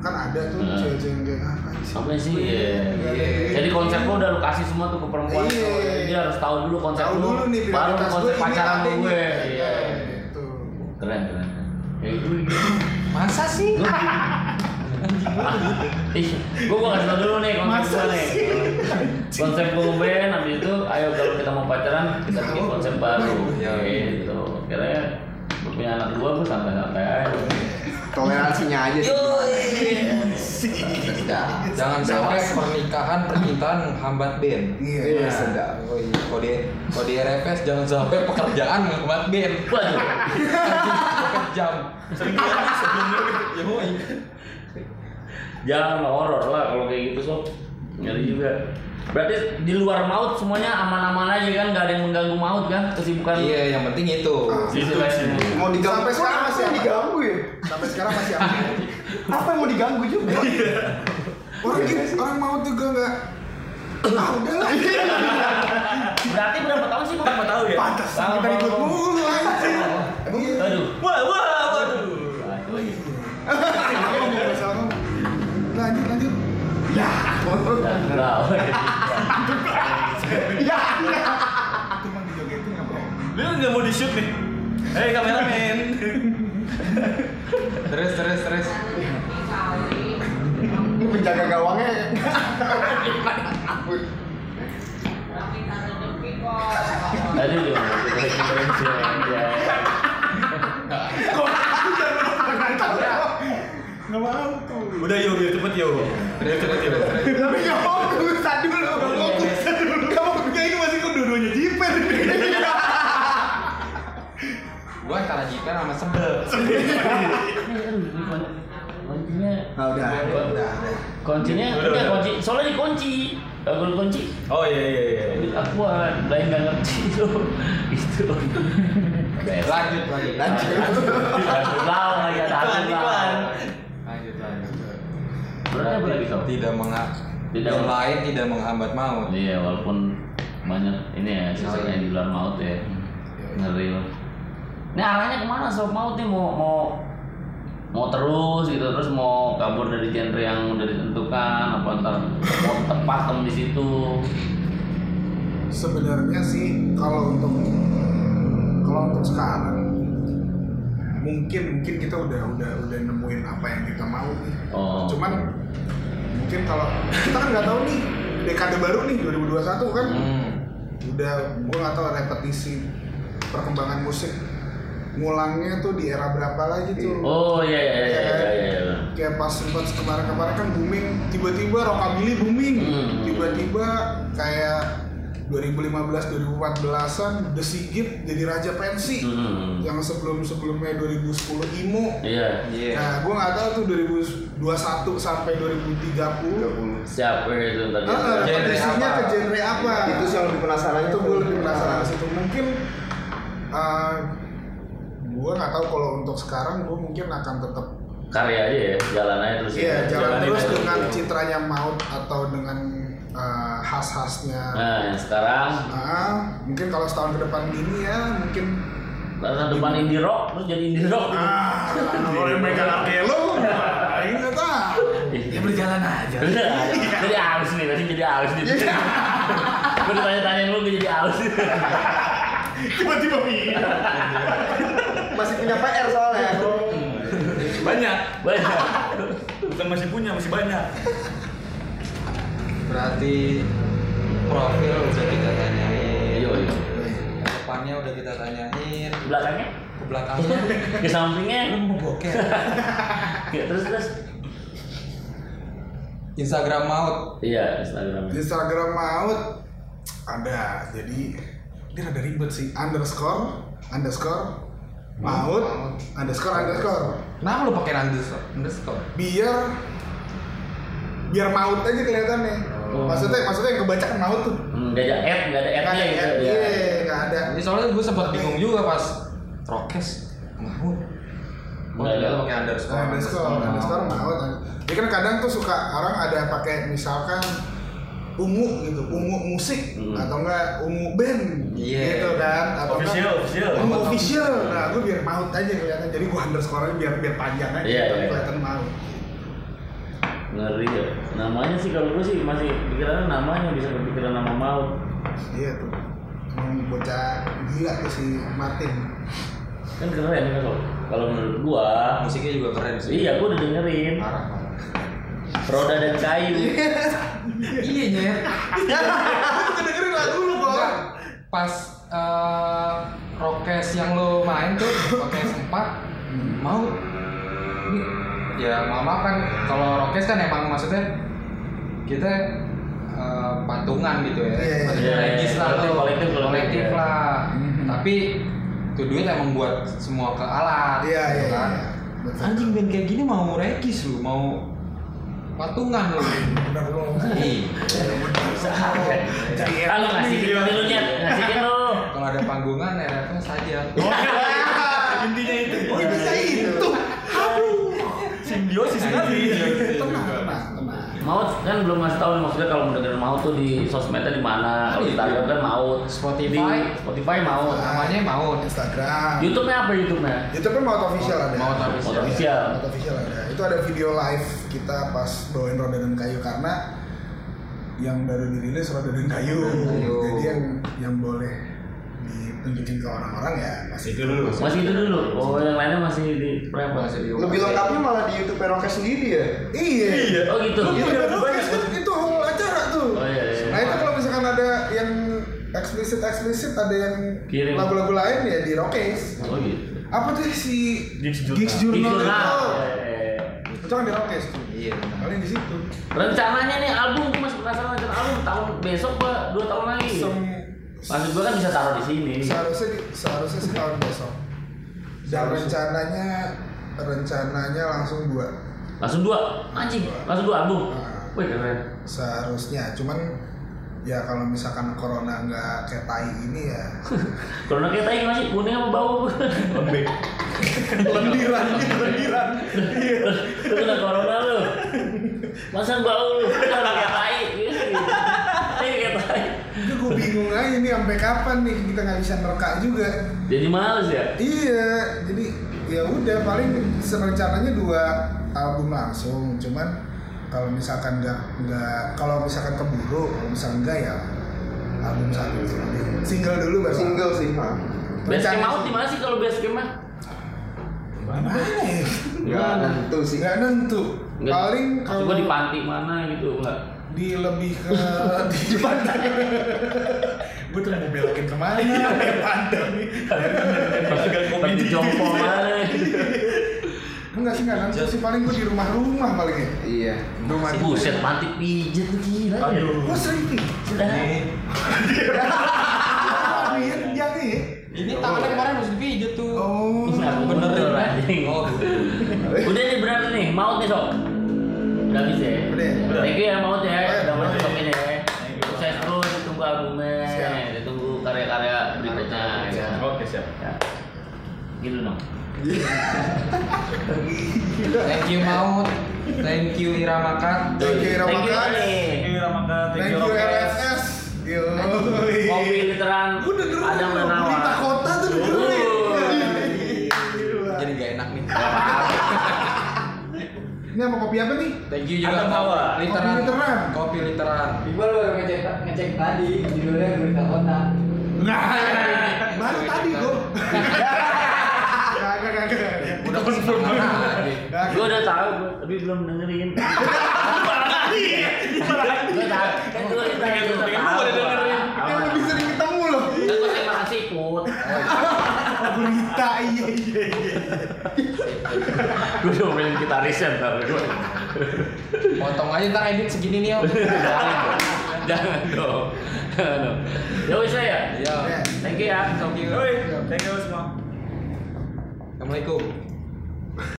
[SPEAKER 2] kan ada tuh
[SPEAKER 1] Hmm.
[SPEAKER 2] cewek-cewek yang kayak apa sih?
[SPEAKER 1] Sampai sih iya.
[SPEAKER 2] Iya.
[SPEAKER 1] Jadi konsep lu udah lu kasih semua tuh ke perempuan.
[SPEAKER 2] Iya.
[SPEAKER 1] Jadi Dia harus tahu dulu konsep
[SPEAKER 2] Tahu
[SPEAKER 1] lu.
[SPEAKER 2] dulu nih
[SPEAKER 1] baru
[SPEAKER 2] prioritas
[SPEAKER 1] konsep
[SPEAKER 2] ini
[SPEAKER 1] pacaran
[SPEAKER 2] apa
[SPEAKER 1] lu gue.
[SPEAKER 2] nih.
[SPEAKER 1] Iya.
[SPEAKER 2] Gitu.
[SPEAKER 1] Keren, keren. Ya itu.
[SPEAKER 4] Masa sih?
[SPEAKER 1] Ih, gue gua kasih tau dulu nih konsep
[SPEAKER 2] Masa
[SPEAKER 1] gue nih.
[SPEAKER 2] sih?
[SPEAKER 1] Konsep gue band habis itu ayo kalau kita mau pacaran kita bikin konsep baru.
[SPEAKER 4] Iya.
[SPEAKER 1] Gitu. Kira gue punya anak dua gue santai-santai aja.
[SPEAKER 5] Toleransinya aja sih.
[SPEAKER 4] Jangan sampai pernikahan percintaan hambat band.
[SPEAKER 2] Iya.
[SPEAKER 5] Iya,
[SPEAKER 4] Nah,
[SPEAKER 5] sedap.
[SPEAKER 4] oh iya. Kode kode RFS jangan sampai pekerjaan menghambat band.
[SPEAKER 1] Waduh.
[SPEAKER 4] Jam.
[SPEAKER 3] Sering kali sebelumnya. Ya, boy.
[SPEAKER 1] Jangan horor lah kalau kayak gitu sob. Nyari juga. Berarti di luar maut semuanya aman-aman aja kan, nggak ada yang mengganggu maut kan, kesibukan.
[SPEAKER 4] Iya, yang penting itu.
[SPEAKER 1] Sisi lainnya.
[SPEAKER 5] Mau diganggu.
[SPEAKER 2] Sampai sekarang
[SPEAKER 5] Apa
[SPEAKER 2] masih
[SPEAKER 5] yang
[SPEAKER 2] apa?
[SPEAKER 5] diganggu ya?
[SPEAKER 2] Sampai sekarang masih apa?
[SPEAKER 5] Apa yang mau diganggu juga?
[SPEAKER 1] Iya.
[SPEAKER 2] orang gitu, orang mau juga nggak ah udahlah
[SPEAKER 1] Iya. Berarti berapa tahun sih? Bang?
[SPEAKER 3] Empat tahun ya.
[SPEAKER 2] pantas kita ribut mulu anjing Iya.
[SPEAKER 1] Aduh.
[SPEAKER 3] Wah, wah, waduh.
[SPEAKER 2] Ngomong, salah ngomong. lanjut lanjut
[SPEAKER 1] Nah,
[SPEAKER 5] Ya.
[SPEAKER 2] syuting apa?
[SPEAKER 3] Dia kan nggak mau di shoot nih. Hei kameramen.
[SPEAKER 4] Terus terus terus.
[SPEAKER 5] Ini penjaga gawangnya.
[SPEAKER 1] Tadi juga referensi aja.
[SPEAKER 2] Nggak mau tuh.
[SPEAKER 3] Udah yo, yo cepet yo. Udah cepet yo.
[SPEAKER 2] Tapi nggak mau fokusan dulu. Nggak mau
[SPEAKER 1] Iya.
[SPEAKER 2] fokusan dulu. Kamu kayaknya masih kok dua-duanya jiper.
[SPEAKER 4] Gua antara jiper sama sebel.
[SPEAKER 1] Kuncinya
[SPEAKER 2] Nah, udah, udah, udah.
[SPEAKER 1] Iya. kuncinya
[SPEAKER 3] Udah,
[SPEAKER 1] enggak
[SPEAKER 3] udah.
[SPEAKER 1] kunci. Soalnya dikunci. Gak boleh kunci.
[SPEAKER 3] Oh iya iya iya.
[SPEAKER 1] Aku lain nggak ngerti itu. Itu.
[SPEAKER 4] Eh, Lanjut lanjut lanjut.
[SPEAKER 1] Satu lawan ya satu
[SPEAKER 3] Iklan,
[SPEAKER 1] lawan.
[SPEAKER 3] iklan.
[SPEAKER 4] Lanjut lanjut.
[SPEAKER 1] Berarti apa lagi kau?
[SPEAKER 4] Tidak menga
[SPEAKER 1] Tidak-
[SPEAKER 4] yang lain tidak menghambat maut.
[SPEAKER 1] Iya walaupun banyak ini ya
[SPEAKER 2] Iya,
[SPEAKER 1] sisanya di luar maut ya
[SPEAKER 2] Hmm.
[SPEAKER 1] ngeri loh. Nah arahnya kemana sob maut nih mau mau mau terus gitu terus mau kabur dari genre yang udah ditentukan apa ntar mau terpakem di situ.
[SPEAKER 2] Sebenarnya sih kalau untuk kalau untuk sekarang mungkin mungkin kita udah udah udah nemuin apa yang kita mau nih.
[SPEAKER 1] Oh.
[SPEAKER 2] Cuman mungkin kalau kita kan nggak tahu nih dekade baru nih 2021 kan
[SPEAKER 4] Hmm.
[SPEAKER 2] udah gua nggak tahu repetisi perkembangan musik ngulangnya tuh di era berapa lagi tuh
[SPEAKER 1] Oh iya iya iya iya iya. iya.
[SPEAKER 2] kayak pas sempat kemarin-kemarin kan booming tiba-tiba rockabilly booming
[SPEAKER 1] Hmm.
[SPEAKER 2] tiba-tiba kayak 2015 2014an The Sigit jadi raja pensi
[SPEAKER 1] Hmm.
[SPEAKER 2] yang sebelum sebelumnya 2010 emo
[SPEAKER 1] Iya.
[SPEAKER 4] Iya.
[SPEAKER 2] nah gue nggak tahu tuh 2021 sampai 2030
[SPEAKER 1] Siapa iya, itu tadi?
[SPEAKER 2] Ah,
[SPEAKER 4] Genre
[SPEAKER 2] repetisinya
[SPEAKER 4] apa?
[SPEAKER 2] ke genre apa
[SPEAKER 5] Itu sih yang lebih penasaran
[SPEAKER 2] itu gue lebih penasaran ke situ mungkin eh gue nggak tahu kalau untuk sekarang gue mungkin akan tetap
[SPEAKER 1] Karya aja ya jalan aja terus. ya.
[SPEAKER 2] Iya, jalan
[SPEAKER 3] jalanin
[SPEAKER 2] terus
[SPEAKER 3] aja.
[SPEAKER 2] dengan citranya maut atau dengan eh, khas-khasnya.
[SPEAKER 1] Nah yang sekarang
[SPEAKER 2] Nah, mungkin kalau setahun ke depan gini ya, mungkin
[SPEAKER 1] latar depan indie rock terus jadi indie rock.
[SPEAKER 2] ah, kalau yang megang akelo, nah, ini nggak tahu.
[SPEAKER 1] Iya.
[SPEAKER 4] berjalan aja.
[SPEAKER 1] Bener, jadi halus nih, tadi jadi halus nih. Gue ditanya-tanya lu, gue jadi halus.
[SPEAKER 2] Tiba-tiba ini.
[SPEAKER 5] Masih punya PR soalnya.
[SPEAKER 3] Banyak.
[SPEAKER 1] Banyak.
[SPEAKER 3] Bukan masih punya, masih banyak.
[SPEAKER 4] Berarti profil udah kita tanyain.
[SPEAKER 1] Iya, iya.
[SPEAKER 4] Depannya udah kita tanyain.
[SPEAKER 1] Ke Belakangnya,
[SPEAKER 4] Ke belakangnya.
[SPEAKER 1] ke
[SPEAKER 4] Lu
[SPEAKER 1] sampingnya,
[SPEAKER 4] mau bokeh.
[SPEAKER 1] ya, terus terus.
[SPEAKER 4] Instagram maut.
[SPEAKER 1] Iya, Instagram.
[SPEAKER 2] Instagram maut ada, jadi ini rada ribet sih. Underscore, underscore, maut, underscore, underscore.
[SPEAKER 4] Kenapa lu pakai underscore? Underscore.
[SPEAKER 2] Biar biar maut aja kelihatannya. Maksudnya, maksudnya yang kebaca kan maut tuh.
[SPEAKER 1] Enggak Hmm, ada ad, enggak ada
[SPEAKER 2] Nggak
[SPEAKER 1] ad-nya
[SPEAKER 2] ada
[SPEAKER 1] gitu.
[SPEAKER 2] ad,
[SPEAKER 1] ya.
[SPEAKER 2] Oh. iya, nggak ada.
[SPEAKER 4] Ini soalnya gue sempat bingung juga pas Rokes Mahmud. Oh,
[SPEAKER 1] Nggak
[SPEAKER 4] ternyata
[SPEAKER 1] ada.
[SPEAKER 4] pakai underscore.
[SPEAKER 2] Underscore, underscore maut. Jadi kan kadang tuh suka orang ada pakai misalkan ungu gitu, ungu musik
[SPEAKER 1] Hmm.
[SPEAKER 2] atau enggak ungu band
[SPEAKER 4] Iya.
[SPEAKER 2] gitu kan atau enggak
[SPEAKER 3] Official, official.
[SPEAKER 2] ungu official. Nah, gue biar maut aja kelihatan. Jadi gue underscore aja biar biar panjang aja
[SPEAKER 1] Iya,
[SPEAKER 2] gitu,
[SPEAKER 1] iya.
[SPEAKER 2] kelihatan maut.
[SPEAKER 1] Ngeri ya. Namanya sih kalau gue sih masih pikirannya namanya bisa kepikiran nama maut.
[SPEAKER 2] Iya tuh. Emang bocah gila tuh si Martin.
[SPEAKER 1] Kan keren kan kalau kalau menurut gua.
[SPEAKER 4] Musiknya juga keren sih.
[SPEAKER 1] Iya, gua udah dengerin.
[SPEAKER 4] Parah, parah.
[SPEAKER 1] Roda dan kayu.
[SPEAKER 4] iya, Nyet.
[SPEAKER 2] Aku dengerin lagu lu, Bang.
[SPEAKER 4] Enggak, Pas eh, Rokes yang lo main tuh pakai sempat mau ini ya mau maaf kan kalau Rokes kan emang maksudnya kita eh, patungan gitu ya.
[SPEAKER 2] Iya, iya,
[SPEAKER 1] iya.
[SPEAKER 4] Kolektif
[SPEAKER 1] Kolektif,
[SPEAKER 4] lah lo.
[SPEAKER 1] kolektif, kolektif,
[SPEAKER 4] kolektif
[SPEAKER 1] ya.
[SPEAKER 4] lah.
[SPEAKER 2] Mhm.
[SPEAKER 4] Tapi tuh duit emang buat semua ke alat.
[SPEAKER 2] Iya,
[SPEAKER 4] gitu
[SPEAKER 2] iya, iya.
[SPEAKER 4] kan.
[SPEAKER 2] Betul.
[SPEAKER 4] Anjing band kayak gini mau regis lu, mau patungan lu.
[SPEAKER 2] Bener lu.
[SPEAKER 4] Ih,
[SPEAKER 2] Jadi
[SPEAKER 1] Kalau ngasih
[SPEAKER 2] nih,
[SPEAKER 1] gitu
[SPEAKER 2] dia.
[SPEAKER 1] lu nyet, ngasihin lu.
[SPEAKER 4] kalau ada panggungan ya apa saja.
[SPEAKER 3] Intinya itu.
[SPEAKER 5] Oh,
[SPEAKER 2] Mungkin bisa itu.
[SPEAKER 3] Simbiosis
[SPEAKER 2] Iya,
[SPEAKER 4] iya,
[SPEAKER 3] sekali.
[SPEAKER 2] Tenang, tenang, tenang.
[SPEAKER 1] Maut kan belum ngasih tahu nih, maksudnya kalau mendengar maut tuh di sosmednya di mana? Kalau
[SPEAKER 4] Iya.
[SPEAKER 1] Instagram kan maut,
[SPEAKER 4] Spotify.
[SPEAKER 1] Di Spotify maut.
[SPEAKER 4] Namanya Maut.
[SPEAKER 2] Instagram.
[SPEAKER 1] YouTube-nya apa YouTube-nya?
[SPEAKER 2] YouTube kan Maut Official Iya, ada.
[SPEAKER 4] Maut Official.
[SPEAKER 1] Maut official.
[SPEAKER 2] Maut Official ada. Itu ada video live kita pas bawain roda dan kayu karena yang baru dirilis roda dan kayu.
[SPEAKER 4] Kayu.
[SPEAKER 2] Jadi yang yang boleh di tunjukin ke orang-orang ya masih
[SPEAKER 3] Itu dulu.
[SPEAKER 1] Masih itu dulu. Oh, yang lainnya masih di private.
[SPEAKER 4] Masih di
[SPEAKER 5] Lebih lengkapnya malah di YouTube Rockes sendiri ya.
[SPEAKER 2] iya
[SPEAKER 1] Oh, gitu.
[SPEAKER 2] Itu udah bagus, itu, itu whole acara tuh.
[SPEAKER 1] Oh, iya, iya.
[SPEAKER 2] Nah itu kalau misalkan ada yang eksplisit eksplisit ada yang
[SPEAKER 1] Kirim.
[SPEAKER 2] lagu-lagu lain ya di Rockes.
[SPEAKER 1] Oh, gitu.
[SPEAKER 2] Apa tuh si
[SPEAKER 3] Gigs Journal.
[SPEAKER 2] Gigs
[SPEAKER 1] Di
[SPEAKER 2] Journal
[SPEAKER 1] jurnal.
[SPEAKER 2] itu?
[SPEAKER 1] Eh,
[SPEAKER 2] Itu kan di Rockes tuh.
[SPEAKER 4] Iya.
[SPEAKER 2] Paling di situ.
[SPEAKER 1] Rencananya nih album gue masih penasaran rencana album tahun besok gua dua tahun lagi.
[SPEAKER 2] Sem-
[SPEAKER 1] Maksud gua kan bisa taruh di sini.
[SPEAKER 2] seharusnya di- seharusnya sih tahun besok. Dan
[SPEAKER 1] Seharusnya.
[SPEAKER 2] rencananya rencananya langsung dua
[SPEAKER 1] Langsung dua, anjing, langsung dua album. Wih keren.
[SPEAKER 2] seharusnya. Cuman ya kalau misalkan corona nggak kayak tai ini ya
[SPEAKER 1] Corona kayak tadi masih kuning apa bau?
[SPEAKER 3] Lembek.
[SPEAKER 2] lendiran gitu lendiran
[SPEAKER 1] Lu kena corona lu. Masa bau lu? Corona kayak tai. Gitu. Ini kayak tai.
[SPEAKER 2] itu gue bingung aja nih sampai kapan nih kita nggak bisa nerka juga
[SPEAKER 1] Jadi males ya?
[SPEAKER 2] iya jadi ya udah paling rencananya dua album langsung cuman kalau misalkan nggak nggak kalau misalkan keburu kalau misalkan enggak ya album satu single dulu baru
[SPEAKER 5] Single sih, ha.
[SPEAKER 1] Basecamp
[SPEAKER 2] Rencana
[SPEAKER 1] mau
[SPEAKER 2] sih.
[SPEAKER 1] di mana sih kalau basecamp mah?
[SPEAKER 2] mana ya
[SPEAKER 5] Gak tentu sih.
[SPEAKER 2] nggak nentu
[SPEAKER 1] Nggak-
[SPEAKER 2] paling
[SPEAKER 1] maksud
[SPEAKER 2] kalau
[SPEAKER 1] gua di panti mana gitu enggak.
[SPEAKER 2] di lebih ke di pantai gue tuh mau belakin kemana ya pantai
[SPEAKER 1] Panti jompo mana?
[SPEAKER 2] enggak sih nggak nentu sih paling gue di rumah-rumah paling ya
[SPEAKER 5] Iya.
[SPEAKER 2] rumah
[SPEAKER 1] Buset, panti pijet tuh gila. ya.
[SPEAKER 2] gue sering nih
[SPEAKER 1] Sudah.
[SPEAKER 2] Amin, yang ini
[SPEAKER 4] Ini tangannya kemarin harus dipijit tuh.
[SPEAKER 2] oh
[SPEAKER 1] Aku Iya, bener anjing.
[SPEAKER 4] Oh, gitu.
[SPEAKER 1] Udah nih berat nih, maut nih sok. Udah habis ya.
[SPEAKER 2] Udah.
[SPEAKER 1] Thank you ya maut ya,
[SPEAKER 2] Oke.
[SPEAKER 1] udah bantu sok ini. ya. Sukses terus, ditunggu albumnya,
[SPEAKER 2] Siap.
[SPEAKER 1] ditunggu karya-karya berikutnya. ya.
[SPEAKER 3] Oke, siap.
[SPEAKER 1] Ya. Gitu dong.
[SPEAKER 4] Thank you Maut. Thank you Irama Kat.
[SPEAKER 2] Thank you, Ira
[SPEAKER 1] Thank you
[SPEAKER 2] Makan.
[SPEAKER 1] nih.
[SPEAKER 3] Thank you Ramaka,
[SPEAKER 2] thank you RSS Yoi.
[SPEAKER 1] Kopi literan
[SPEAKER 2] Gua udah gerak
[SPEAKER 1] Adam
[SPEAKER 2] tuh,
[SPEAKER 1] Renawan.
[SPEAKER 2] berita kota tuh udah gerak.
[SPEAKER 4] Jadi gak enak nih.
[SPEAKER 2] ini sama kopi apa nih
[SPEAKER 4] Thank you juga
[SPEAKER 3] Adam Hawa.
[SPEAKER 4] Maut. Literan.
[SPEAKER 2] Kopi literan.
[SPEAKER 4] Kopi literan.
[SPEAKER 6] Iqbal baru ngecek ngecek tadi judulnya berita kota.
[SPEAKER 2] nah baru tadi gue kagak kagak kagak.
[SPEAKER 4] Udah kesempatan lagi.
[SPEAKER 1] Gue udah tahu, gua- tapi belum dengerin. Gue tahu, kan gue udah tahu.
[SPEAKER 3] Pengen gua udah dengerin.
[SPEAKER 2] Kan lebih sering ketemu loh
[SPEAKER 1] Kan gue terima kasih put.
[SPEAKER 2] berita iya iya
[SPEAKER 1] Gue udah main gitarisnya ntar gue.
[SPEAKER 4] Potong aja ntar edit segini nih om.
[SPEAKER 2] Iya.
[SPEAKER 1] Jangan dong. Jangan dong. Ya wis lah ya.
[SPEAKER 4] Iya.
[SPEAKER 2] Ya.
[SPEAKER 1] Thank you ya.
[SPEAKER 4] Thank you.
[SPEAKER 3] Yoi, thank you semua.
[SPEAKER 4] Assalamualaikum.